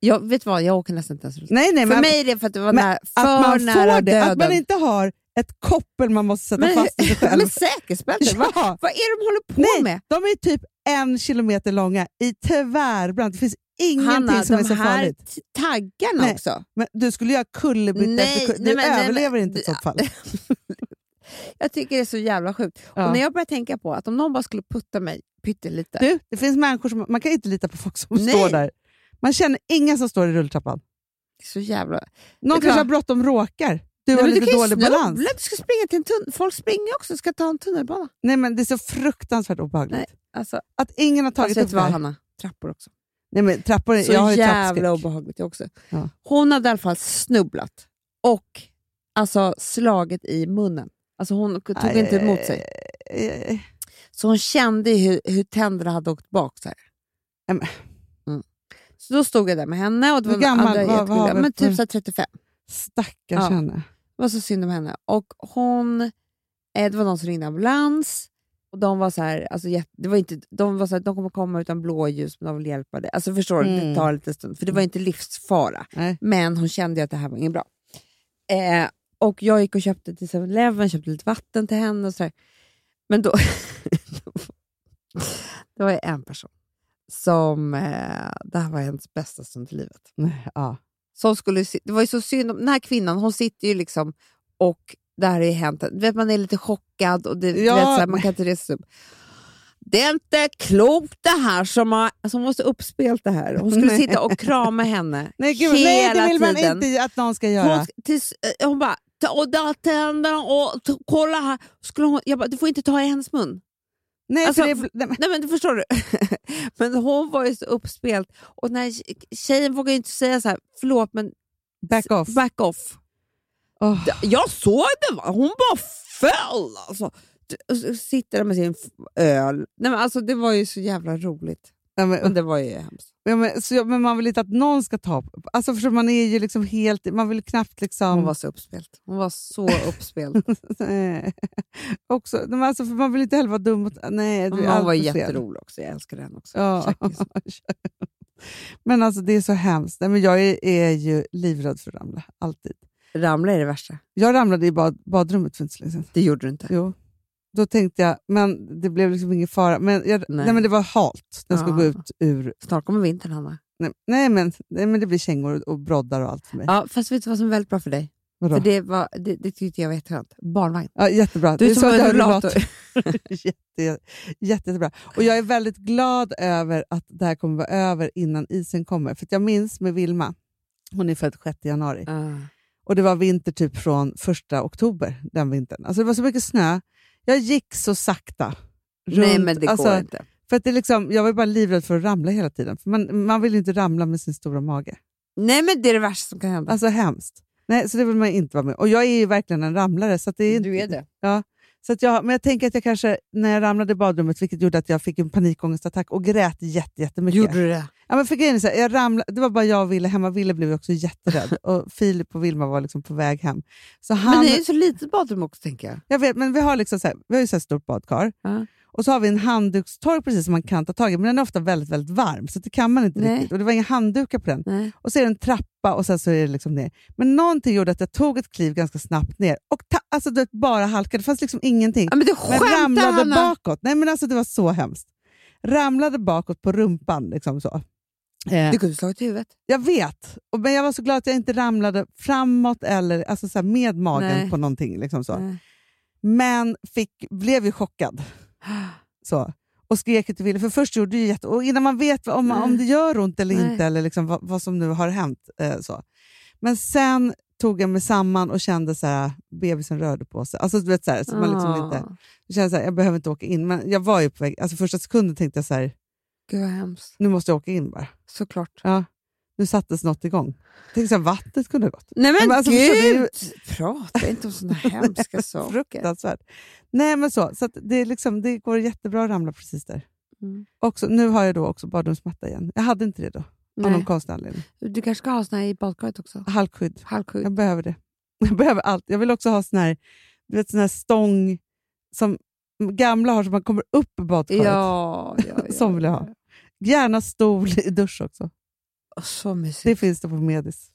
Speaker 2: Jag, vet du vad, jag åker nästan inte ens runt.
Speaker 3: Nej, nej,
Speaker 2: För
Speaker 3: men
Speaker 2: mig är det för att det var
Speaker 3: men
Speaker 2: nära, för
Speaker 3: att, att man
Speaker 2: nära
Speaker 3: får det,
Speaker 2: döden.
Speaker 3: att man inte har ett koppel man måste sätta
Speaker 2: men,
Speaker 3: fast i sig själv.
Speaker 2: men säkerhetsbältet, vad,
Speaker 3: ja,
Speaker 2: vad är det de håller på
Speaker 3: Nej,
Speaker 2: med?
Speaker 3: de är typ en kilometer långa i tvärbrant. Det finns ingenting
Speaker 2: Hanna,
Speaker 3: som är
Speaker 2: de
Speaker 3: så
Speaker 2: här
Speaker 3: farligt.
Speaker 2: t- taggarna
Speaker 3: Nej.
Speaker 2: också.
Speaker 3: Men du skulle göra kullerbytta
Speaker 2: Nej,
Speaker 3: efter kullerbytta.
Speaker 2: nej,
Speaker 3: Du
Speaker 2: men- nej, men-
Speaker 3: överlever inte i så fall.
Speaker 2: Jag tycker det är så jävla sjukt.
Speaker 3: Ja.
Speaker 2: Och när jag börjar tänka på att om någon bara skulle putta mig pyttelite.
Speaker 3: Du, det finns människor som... Man kan inte lita på folk som
Speaker 2: Nej.
Speaker 3: står där. Man känner ingen som står i rulltrappan.
Speaker 2: det är så jävla... är
Speaker 3: Någon kanske
Speaker 2: klart.
Speaker 3: har bråttom, råkar. Du
Speaker 2: Nej,
Speaker 3: har
Speaker 2: men du kan
Speaker 3: lite
Speaker 2: ju
Speaker 3: dålig balans.
Speaker 2: snubbla, Du ska springa till en tun- Folk springer också och ska ta en tunnelbana.
Speaker 3: Nej, men Det är så fruktansvärt obehagligt.
Speaker 2: Nej, alltså,
Speaker 3: Att ingen har tagit
Speaker 2: alltså, vet
Speaker 3: upp
Speaker 2: du
Speaker 3: det
Speaker 2: vad
Speaker 3: här.
Speaker 2: Hanna? Trappor också.
Speaker 3: Nej, men trappor,
Speaker 2: Så
Speaker 3: jag har ju
Speaker 2: jävla
Speaker 3: trappskräck.
Speaker 2: obehagligt också.
Speaker 3: Ja.
Speaker 2: Hon hade i alla fall snubblat och alltså, slagit i munnen. Alltså, hon tog
Speaker 3: Nej,
Speaker 2: inte emot sig.
Speaker 3: eh, eh,
Speaker 2: Så hon kände ju hur, hur tänderna hade åkt bak. Så, här.
Speaker 3: Ja, men-
Speaker 2: Mm. så då stod jag där med henne och det
Speaker 3: Hur
Speaker 2: var
Speaker 3: gammal
Speaker 2: andra
Speaker 3: var- var-
Speaker 2: jättegulliga,
Speaker 3: var-
Speaker 2: men typ så här 35.
Speaker 3: Stackars
Speaker 2: Ja.
Speaker 3: henne.
Speaker 2: Det var så synd om henne. Och hon, eh, det var någon som ringde ambulans. Och de var så här, alltså, jätte- det var inte, de var så här, de kommer komma utan blåljus men de vill hjälpa dig. Alltså förstår du,
Speaker 3: Mm.
Speaker 2: det tar lite stund. För det var inte livsfara.
Speaker 3: Nej.
Speaker 2: Men hon kände ju att det här var inget bra. Eh, och jag gick och köpte till 7-Eleven, köpte lite vatten till henne och så här. Men då... det var ju en person som, eh, det här var hennes bästa stund i livet.
Speaker 3: Nej, ja.
Speaker 2: Som skulle, si- det var ju så synd om den här kvinnan, hon sitter ju liksom och det här har ju hänt. Du vet, man är lite chockad och det, du
Speaker 3: Ja.
Speaker 2: vet, så här, man kan inte resa sig upp. Det är inte klokt det här som har, alltså hon var så uppspelt det här. Hon skulle
Speaker 3: Nej.
Speaker 2: sitta och krama henne
Speaker 3: Nej, gud,
Speaker 2: hela
Speaker 3: nej det vill man
Speaker 2: tiden.
Speaker 3: inte att någon ska göra.
Speaker 2: Hon, sk- tills, eh, hon bara, "Ta- och där tänderna och t- kolla här. Skulle hon, jag bara, du får inte ta i hennes mun.
Speaker 3: nej,
Speaker 2: alltså,
Speaker 3: för det, nej, men-
Speaker 2: Nej men du förstår du. men hon var ju så uppspelt och den här tje- tjejen vågade ju inte säga så här, förlåt men
Speaker 3: back off.
Speaker 2: back off.
Speaker 3: Åh.
Speaker 2: D- Jag såg det, va? hon bara föll alltså. D- och så Sitter där med sin f- öl. Nej, men alltså, det var ju så jävla roligt.
Speaker 3: Nej, men,
Speaker 2: Men det var ju hemskt.
Speaker 3: Ja, men, så, ja, men man vill inte att någon ska ta på... Alltså, förstår du, man är ju liksom helt... Man vill knappt liksom...
Speaker 2: Hon var så uppspelt. Hon var så uppspelt.
Speaker 3: Eh, också, nej, men alltså, för man vill inte heller vara dum mot... Nej, du är
Speaker 2: Hon var,
Speaker 3: allt för sen.
Speaker 2: jätterolig också. Jag älskar henne också.
Speaker 3: Ja.
Speaker 2: Tjackis.
Speaker 3: Men alltså det är så hemskt. Nej, men jag är, är ju livrädd för att ramla, alltid.
Speaker 2: Ramla är det värsta.
Speaker 3: Jag ramlade i bad, badrummet för inte så länge sedan.
Speaker 2: Det gjorde du inte.
Speaker 3: Jo. Då tänkte jag, men det blev liksom ingen fara. Men, jag, nej.
Speaker 2: Nej.
Speaker 3: men det var halt när jag skulle gå
Speaker 2: Ah.
Speaker 3: ut ur...
Speaker 2: Snart kommer vintern, Hanna.
Speaker 3: Nej, nej, men, nej men det blir kängor och, och broddar och allt för mig.
Speaker 2: Ja, fast vet du vad som är väldigt bra för dig?
Speaker 3: Vadå?
Speaker 2: För det, var, det, det tyckte jag var jätteskönt. Barnvagn.
Speaker 3: Ja, jättebra.
Speaker 2: Du
Speaker 3: Det är
Speaker 2: som
Speaker 3: så
Speaker 2: har
Speaker 3: att
Speaker 2: en
Speaker 3: jag blir
Speaker 2: rullator.
Speaker 3: lat. Jätte, jätte, jättebra. Och jag är väldigt glad över att det här kommer vara över innan isen kommer. För att jag minns med Vilma, hon är född 6 januari,
Speaker 2: Ah.
Speaker 3: och det var vinter typ från 1 oktober den vintern. Alltså det var så mycket snö. Jag gick så sakta. Runt,
Speaker 2: Nej, men det går
Speaker 3: alltså,
Speaker 2: inte.
Speaker 3: för att det är liksom, jag var ju bara livrädd för att ramla hela tiden. För man, man vill ju inte ramla med sin stora mage.
Speaker 2: Nej, men det är det värsta som kan hända.
Speaker 3: Alltså hemskt. Nej, så det vill man inte vara med Och jag är ju verkligen en ramlare. Så att det är inte,
Speaker 2: du är det.
Speaker 3: Så att jag, men jag tänker att jag kanske, när jag ramlade i badrummet, vilket gjorde att jag fick en panikångestattack och grät jätte, jättemycket.
Speaker 2: Gjorde du det?
Speaker 3: Ja, men för grejen är så här, jag ramlade, det var bara jag och Ville hemma. Ville blev ju också jätterädd och Filip och Vilma var liksom på väg hem. Så han,
Speaker 2: Men det är ju så litet badrum också, tänker jag.
Speaker 3: jag vet, men vi har, liksom så här, vi har ju så här stort badkar
Speaker 2: Ja.
Speaker 3: och så har vi en handdukstork precis som man kan ta tag i, men den är ofta väldigt, väldigt varm så det kan man inte
Speaker 2: Nej.
Speaker 3: riktigt. Och det var inga handdukar på den.
Speaker 2: Nej.
Speaker 3: Och så är det en trappa och sen så är det liksom ner. Men någonting gjorde att jag tog ett kliv ganska snabbt ner och ta, alltså, du vet, bara halkade. Det fanns liksom ingenting.
Speaker 2: Ja, men du
Speaker 3: Men
Speaker 2: skämtar,
Speaker 3: ramlade
Speaker 2: Hanna!
Speaker 3: bakåt. Nej men alltså det var så hemskt. Ramlade bakåt på rumpan liksom så. Eh,
Speaker 2: Du kunde slagit i huvudet.
Speaker 3: jag vet, och, men jag var så glad att jag inte ramlade framåt eller alltså så här med magen
Speaker 2: Nej.
Speaker 3: på någonting. Liksom så.
Speaker 2: Nej.
Speaker 3: Men fick, blev ju chockad. Så. Och skrek till Wille, för först gjorde det ju jätte... Och innan man vet vad- om,
Speaker 2: Nej.
Speaker 3: om det gör ont eller
Speaker 2: Nej.
Speaker 3: inte, eller liksom vad, vad som nu har hänt. Eh, så. Men sen tog jag mig samman och kände så här, bebisen rörde på sig. Alltså, du vet, så här, så man liksom
Speaker 2: Ah.
Speaker 3: inte... Jag kände så här, jag behöver inte åka in. Men jag var ju på väg. Alltså första sekunden tänkte jag så här,
Speaker 2: Gud vad hemskt.
Speaker 3: nu måste jag åka in bara.
Speaker 2: Såklart.
Speaker 3: Ja. Nu sattes något igång. Tänkte så här, vattnet kunde ha gått.
Speaker 2: Nej men,
Speaker 3: Men alltså, förstår du, det är ju-
Speaker 2: gud! Prata inte om sådana hemska saker.
Speaker 3: Fruktansvärt. Nej men så, så att det, är liksom, det går jättebra att ramla precis där.
Speaker 2: Mm.
Speaker 3: Också, nu har jag då också badrumsmatta igen. Jag hade inte det då, av någon
Speaker 2: Nej.
Speaker 3: konstig anledning.
Speaker 2: Du kanske ska ha såna här i badkaret också?
Speaker 3: Halkskydd.
Speaker 2: Halkskydd.
Speaker 3: Jag behöver det. Jag behöver allt. Jag vill också ha sån här, du vet, sån här stång som gamla har som man kommer upp i badkaret.
Speaker 2: Ja, ja, ja.
Speaker 3: Sån vill jag ha. Gärna stol i dusch också.
Speaker 2: Åh, Så mysigt.
Speaker 3: Det finns det på Medis.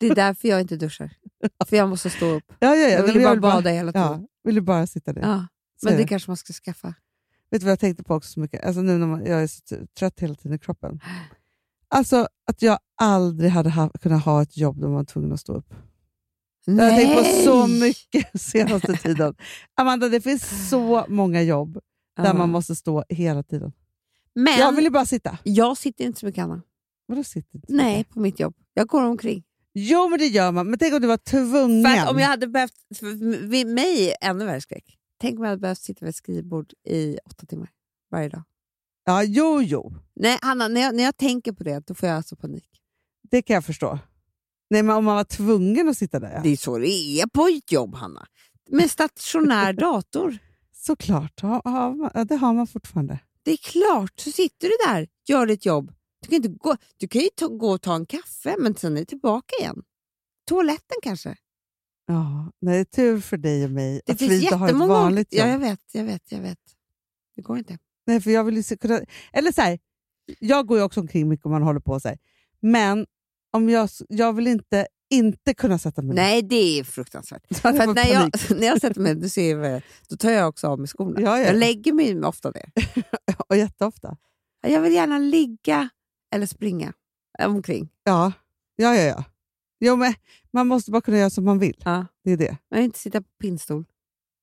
Speaker 2: Det är därför jag inte duschar. För jag måste stå upp.
Speaker 3: Ja, ja,
Speaker 2: Jag
Speaker 3: ja. Nej,
Speaker 2: vill
Speaker 3: men
Speaker 2: ju bara
Speaker 3: vill
Speaker 2: bada hela tiden.
Speaker 3: Ja, vill du bara sitta där.
Speaker 2: Ja,
Speaker 3: Så
Speaker 2: men
Speaker 3: är
Speaker 2: det
Speaker 3: det.
Speaker 2: kanske man ska skaffa.
Speaker 3: Vet du vad jag tänkte på också så mycket? Alltså nu när man, jag är så t- trött hela tiden i kroppen. Alltså att jag aldrig hade ha, kunnat ha ett jobb där man var tvungen att stå upp. Det har jag tänkt på så mycket senaste tiden. Amanda, det
Speaker 2: Ah.
Speaker 3: finns så många jobb där
Speaker 2: Ja.
Speaker 3: man måste stå hela tiden.
Speaker 2: Ah. Men
Speaker 3: Jag
Speaker 2: jag,
Speaker 3: vill ju bara sitta.
Speaker 2: sitter inte så mycket Anna.
Speaker 3: Vadå sitter inte?
Speaker 2: Nej, på mitt jobb. Jag går omkring.
Speaker 3: Jo, men det gör man. Men tänk om du var tvungen.
Speaker 2: För att om jag hade behövt, för m- vid mig ännu värre skräck. Tänk om jag hade behövt sitta vid ett skrivbord i åtta timmar varje dag.
Speaker 3: Ja, jo, jo.
Speaker 2: Nej, Hanna, när jag, när jag tänker på det, då får jag alltså panik.
Speaker 3: Det kan jag förstå. Nej, men om man var tvungen att sitta där.
Speaker 2: Det
Speaker 3: Ja.
Speaker 2: är så det är på ett jobb, Hanna. Med stationär dator.
Speaker 3: Såklart. Ha, ha, man- ja, det har man fortfarande.
Speaker 2: Det är klart, så sitter du där, gör ditt jobb. Du kan, inte gå, du kan ju ta, gå och ta en kaffe, men sen är du tillbaka igen. Toaletten kanske?
Speaker 3: Ja, nej, det är tur för dig och mig
Speaker 2: Det
Speaker 3: att
Speaker 2: finns
Speaker 3: vi inte har ett
Speaker 2: jättemånga
Speaker 3: vanligt
Speaker 2: olika-
Speaker 3: jobb.
Speaker 2: Ja, jag vet, jag vet, jag vet. Det går inte.
Speaker 3: Nej, för jag vill ju se- kunna... Eller så här, jag går ju också omkring mycket om man håller på så här. Men om jag, s- jag vill inte inte kunna sätta mig ner.
Speaker 2: Nej, det är fruktansvärt.
Speaker 3: Så hade
Speaker 2: För
Speaker 3: jag
Speaker 2: att
Speaker 3: fått
Speaker 2: när, jag,
Speaker 3: panik.
Speaker 2: när jag sätter mig, du ser ju, vad jag- då tar jag också av mig skorna.
Speaker 3: Ja, ja.
Speaker 2: Jag lägger mig ofta ner.
Speaker 3: Och jätteofta.
Speaker 2: Jag vill gärna ligga eller springa omkring.
Speaker 3: Ja. Ja, ja, ja. Jo, men man måste bara kunna göra som man vill.
Speaker 2: Ja.
Speaker 3: Det är det.
Speaker 2: Jag vill inte sitta på pinnstol.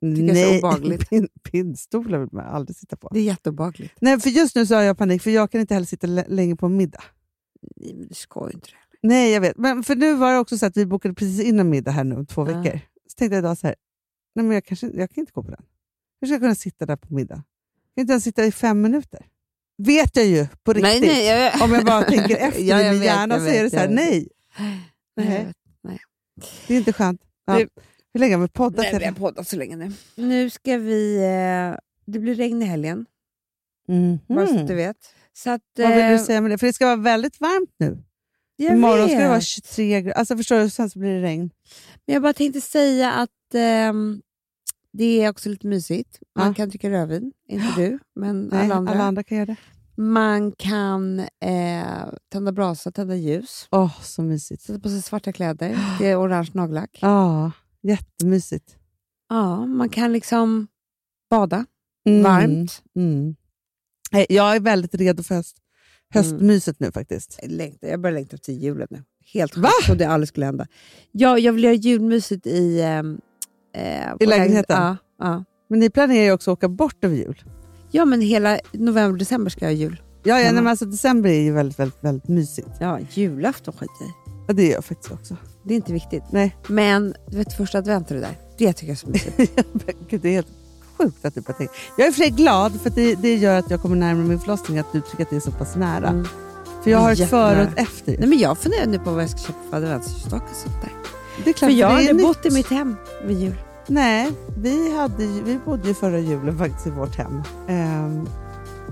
Speaker 3: Nej,
Speaker 2: jag är så obehagligt.
Speaker 3: Pin, pinnstolar vill man aldrig sitta på.
Speaker 2: Det är jätteobehagligt.
Speaker 3: Nej, för just nu så har jag panik, för jag kan inte heller sitta l- länge på en middag.
Speaker 2: Nej, men du ska ju inte det.
Speaker 3: Nej, jag vet. Men för nu var det också så att vi bokade precis in en middag här nu om två
Speaker 2: Ja.
Speaker 3: veckor. Så tänkte jag idag så här, nej men jag, kanske, jag kan inte gå på den. Hur ska jag kunna sitta där på middag? Jag kan inte ens sitta i fem minuter. Vet jag ju på
Speaker 2: Nej,
Speaker 3: riktigt.
Speaker 2: nej, jag,
Speaker 3: Om jag bara tänker efter
Speaker 2: Ja,
Speaker 3: i
Speaker 2: jag
Speaker 3: min
Speaker 2: vet,
Speaker 3: hjärna
Speaker 2: jag
Speaker 3: så är det
Speaker 2: vet,
Speaker 3: så här,
Speaker 2: jag vet.
Speaker 3: nej,
Speaker 2: Nej,
Speaker 3: Nej.
Speaker 2: jag vet.
Speaker 3: det är inte skönt. Ja.
Speaker 2: Du-
Speaker 3: Hur länge har vi poddat?
Speaker 5: Nej, vi har
Speaker 3: Hedda?
Speaker 5: poddat så länge nu.
Speaker 2: Nu ska vi... Eh, det blir regn i helgen,
Speaker 3: Mhm.
Speaker 2: bara så att du vet. Så att,
Speaker 3: Vad vill
Speaker 2: eh,
Speaker 3: du säga med det? För det ska vara väldigt varmt nu.
Speaker 2: jag
Speaker 3: Imorgon ska det
Speaker 2: vet.
Speaker 3: vara 23 grader. Alltså förstår du, sen så blir det regn.
Speaker 2: Men jag bara tänkte säga att ehm, det är också lite mysigt. Man
Speaker 3: Ja.
Speaker 2: kan dricka rödvin, inte du, men
Speaker 3: Nej,
Speaker 2: alla andra.
Speaker 3: kan göra det.
Speaker 2: Man kan eh, tända brasa, tända ljus,
Speaker 3: Åh, så mysigt.
Speaker 2: sätta på sig svarta kläder, det är orange nagellack.
Speaker 3: Ja, jättemysigt.
Speaker 2: Ja, man kan liksom bada
Speaker 3: Mm.
Speaker 2: varmt.
Speaker 3: Mm. Nej, Jag är väldigt redo för höst. höstmyset nu faktiskt.
Speaker 2: Jag längtar- Jag börjar längta efter julen nu. Helt
Speaker 3: Va?
Speaker 2: sjukt. Jag trodde aldrig skulle hända. Jag, jag vill göra julmyset i... ehm, eh, på lägen-
Speaker 3: lägenheten?
Speaker 2: Ja, ja.
Speaker 3: Men ni planerar ju också att åka bort över jul.
Speaker 2: ja, men hela november, december ska jag ha jul.
Speaker 3: Ja, ja,
Speaker 2: Hemma.
Speaker 3: nej, men alltså, december är ju väldigt, väldigt, väldigt mysigt.
Speaker 2: Ja, julafton skiter jag i.
Speaker 3: Ja, det gör jag faktiskt också.
Speaker 2: Det är inte viktigt.
Speaker 3: Nej.
Speaker 2: Men du vet första advent och det där. Det tycker jag är så mysigt.
Speaker 3: Men Eh, Gud, det är helt sjukt att du bara tänker. Jag är för sig glad för att det, det gör att jag kommer närmare min förlossning, att du tycker att det är så pass nära.
Speaker 2: Mm.
Speaker 3: För jag har ett
Speaker 2: Jättenära.
Speaker 3: före och ett efter. ju.
Speaker 2: Nej, men jag funderar nu på vad jag ska köpa för adventsljusstak och sånt där.
Speaker 3: det är klart,
Speaker 2: För jag
Speaker 3: det är
Speaker 2: har aldrig
Speaker 3: nytt.
Speaker 2: bott i mitt hem vid jul.
Speaker 3: Nej, vi, hade, ju- vi bodde ju förra julen faktiskt i vårt hem. Ehm,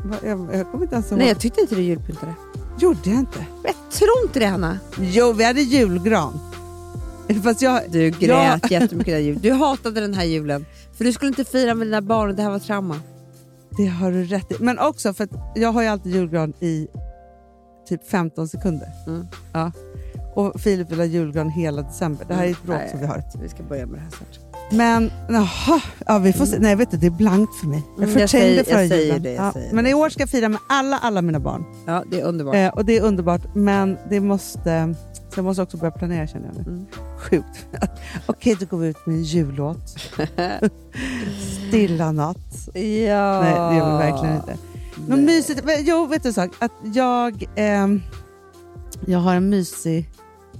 Speaker 3: vad- jag, jag kommer inte ens ihåg.
Speaker 2: Nej, jag tyckte inte du julpyntade.
Speaker 3: Gjorde jag inte?
Speaker 2: Men Jag tror inte det, Hanna.
Speaker 3: Jo, vi hade julgran. Fast jag...
Speaker 2: Du grät
Speaker 3: Ja.
Speaker 2: jättemycket den julen. Du hatade den här julen. För du skulle inte fira med dina barn och det här var trauma.
Speaker 3: Det har du rätt i. Men också för att jag har ju alltid julgran i typ 15 sekunder.
Speaker 2: Mm.
Speaker 3: Ja. Och Filip vill ha julgran hela december. Det här är ett bråk
Speaker 2: Mm, Nej,
Speaker 3: som vi har.
Speaker 2: Vi ska börja med det här snart.
Speaker 3: Men jaha, ja, vi får se. Nej, vet du, det är blankt för mig. Jag
Speaker 2: Mm, jag säger-
Speaker 3: förträngde
Speaker 2: jag
Speaker 3: förra
Speaker 2: säger
Speaker 3: julen.
Speaker 2: det, jag säger
Speaker 3: Men
Speaker 2: det.
Speaker 3: i år ska jag fira med alla, alla mina barn.
Speaker 2: Ja, det är underbart.
Speaker 3: Eh, och det är underbart, men det måste... Så jag måste också börja planera känner jag nu.
Speaker 2: Mm.
Speaker 3: Sjukt. Okej, då går vi ut med en jullåt. Stilla natt.
Speaker 2: Eh, Ja.
Speaker 3: Nej, det
Speaker 2: Ah.
Speaker 3: gör vi verkligen inte. Men mysigt. Men, jo, vet du en sak? Att jag, ehm, jag har en mysig...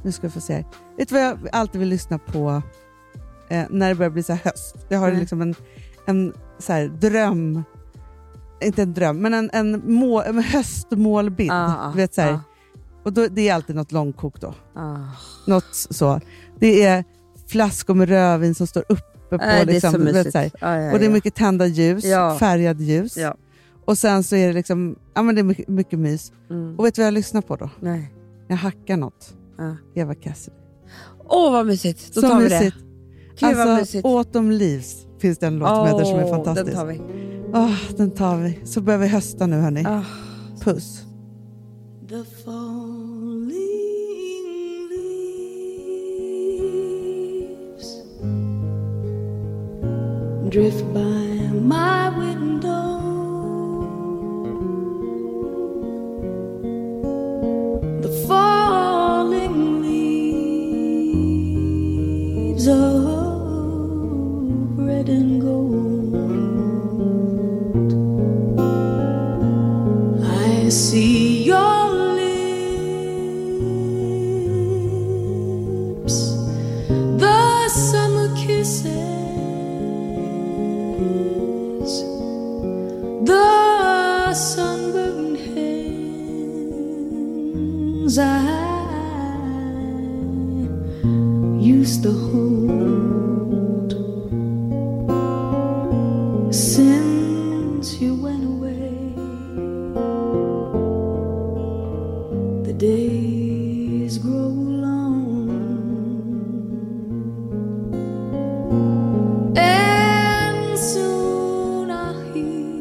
Speaker 3: Nu ska jag få se. här. Vet du vad jag alltid vill lyssna på eh, när det börjar bli så här höst? Jag har
Speaker 2: Nej.
Speaker 3: liksom en, en så här, dröm... Inte en dröm, men en, en, må, en höstmålbild.
Speaker 2: Ah, ah,
Speaker 3: du vet, så här.
Speaker 2: ah.
Speaker 3: Och då, det är alltid något långkok då.
Speaker 2: Ah.
Speaker 3: Något så. Det är flaskor med rödvin som står uppe på.
Speaker 2: Nej, det är
Speaker 3: liksom,
Speaker 2: så
Speaker 3: du vet,
Speaker 2: mysigt.
Speaker 3: så här.
Speaker 2: Ja, ja,
Speaker 3: Och det är
Speaker 2: ja.
Speaker 3: mycket tända ljus,
Speaker 2: Ja.
Speaker 3: färgade ljus.
Speaker 2: Ja.
Speaker 3: Och sen så är det liksom, ja men det är mycket, mycket mys.
Speaker 2: Mm.
Speaker 3: Och vet du vad jag lyssnar på då?
Speaker 2: Nej. ah.
Speaker 3: Jag hackar något.
Speaker 2: Ja.
Speaker 3: Eva Cassidy.
Speaker 2: Åh, vad mysigt. Då
Speaker 3: Så
Speaker 2: tar vi
Speaker 3: mysigt.
Speaker 2: det. Gud, vad
Speaker 3: Alltså,
Speaker 2: mysigt.
Speaker 3: Autumn Leaves finns det en låt som heter som är
Speaker 2: Åh,
Speaker 3: fantastisk.
Speaker 2: Den tar vi.
Speaker 3: Åh, den tar vi. Så börjar vi hösta nu hörni.
Speaker 2: Ah.
Speaker 3: Puss.
Speaker 6: The falling leaves drift by my window. The falling leaves of red and gold. I see your lips, the summer kisses, the sunburned hands I used to hold since you went away. The days grow long, and soon I hear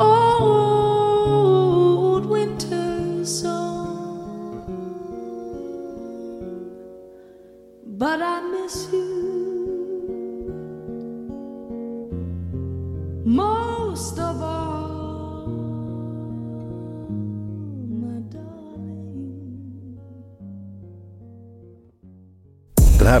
Speaker 6: old winter's song. But I miss you most of all, my darling.
Speaker 1: Den här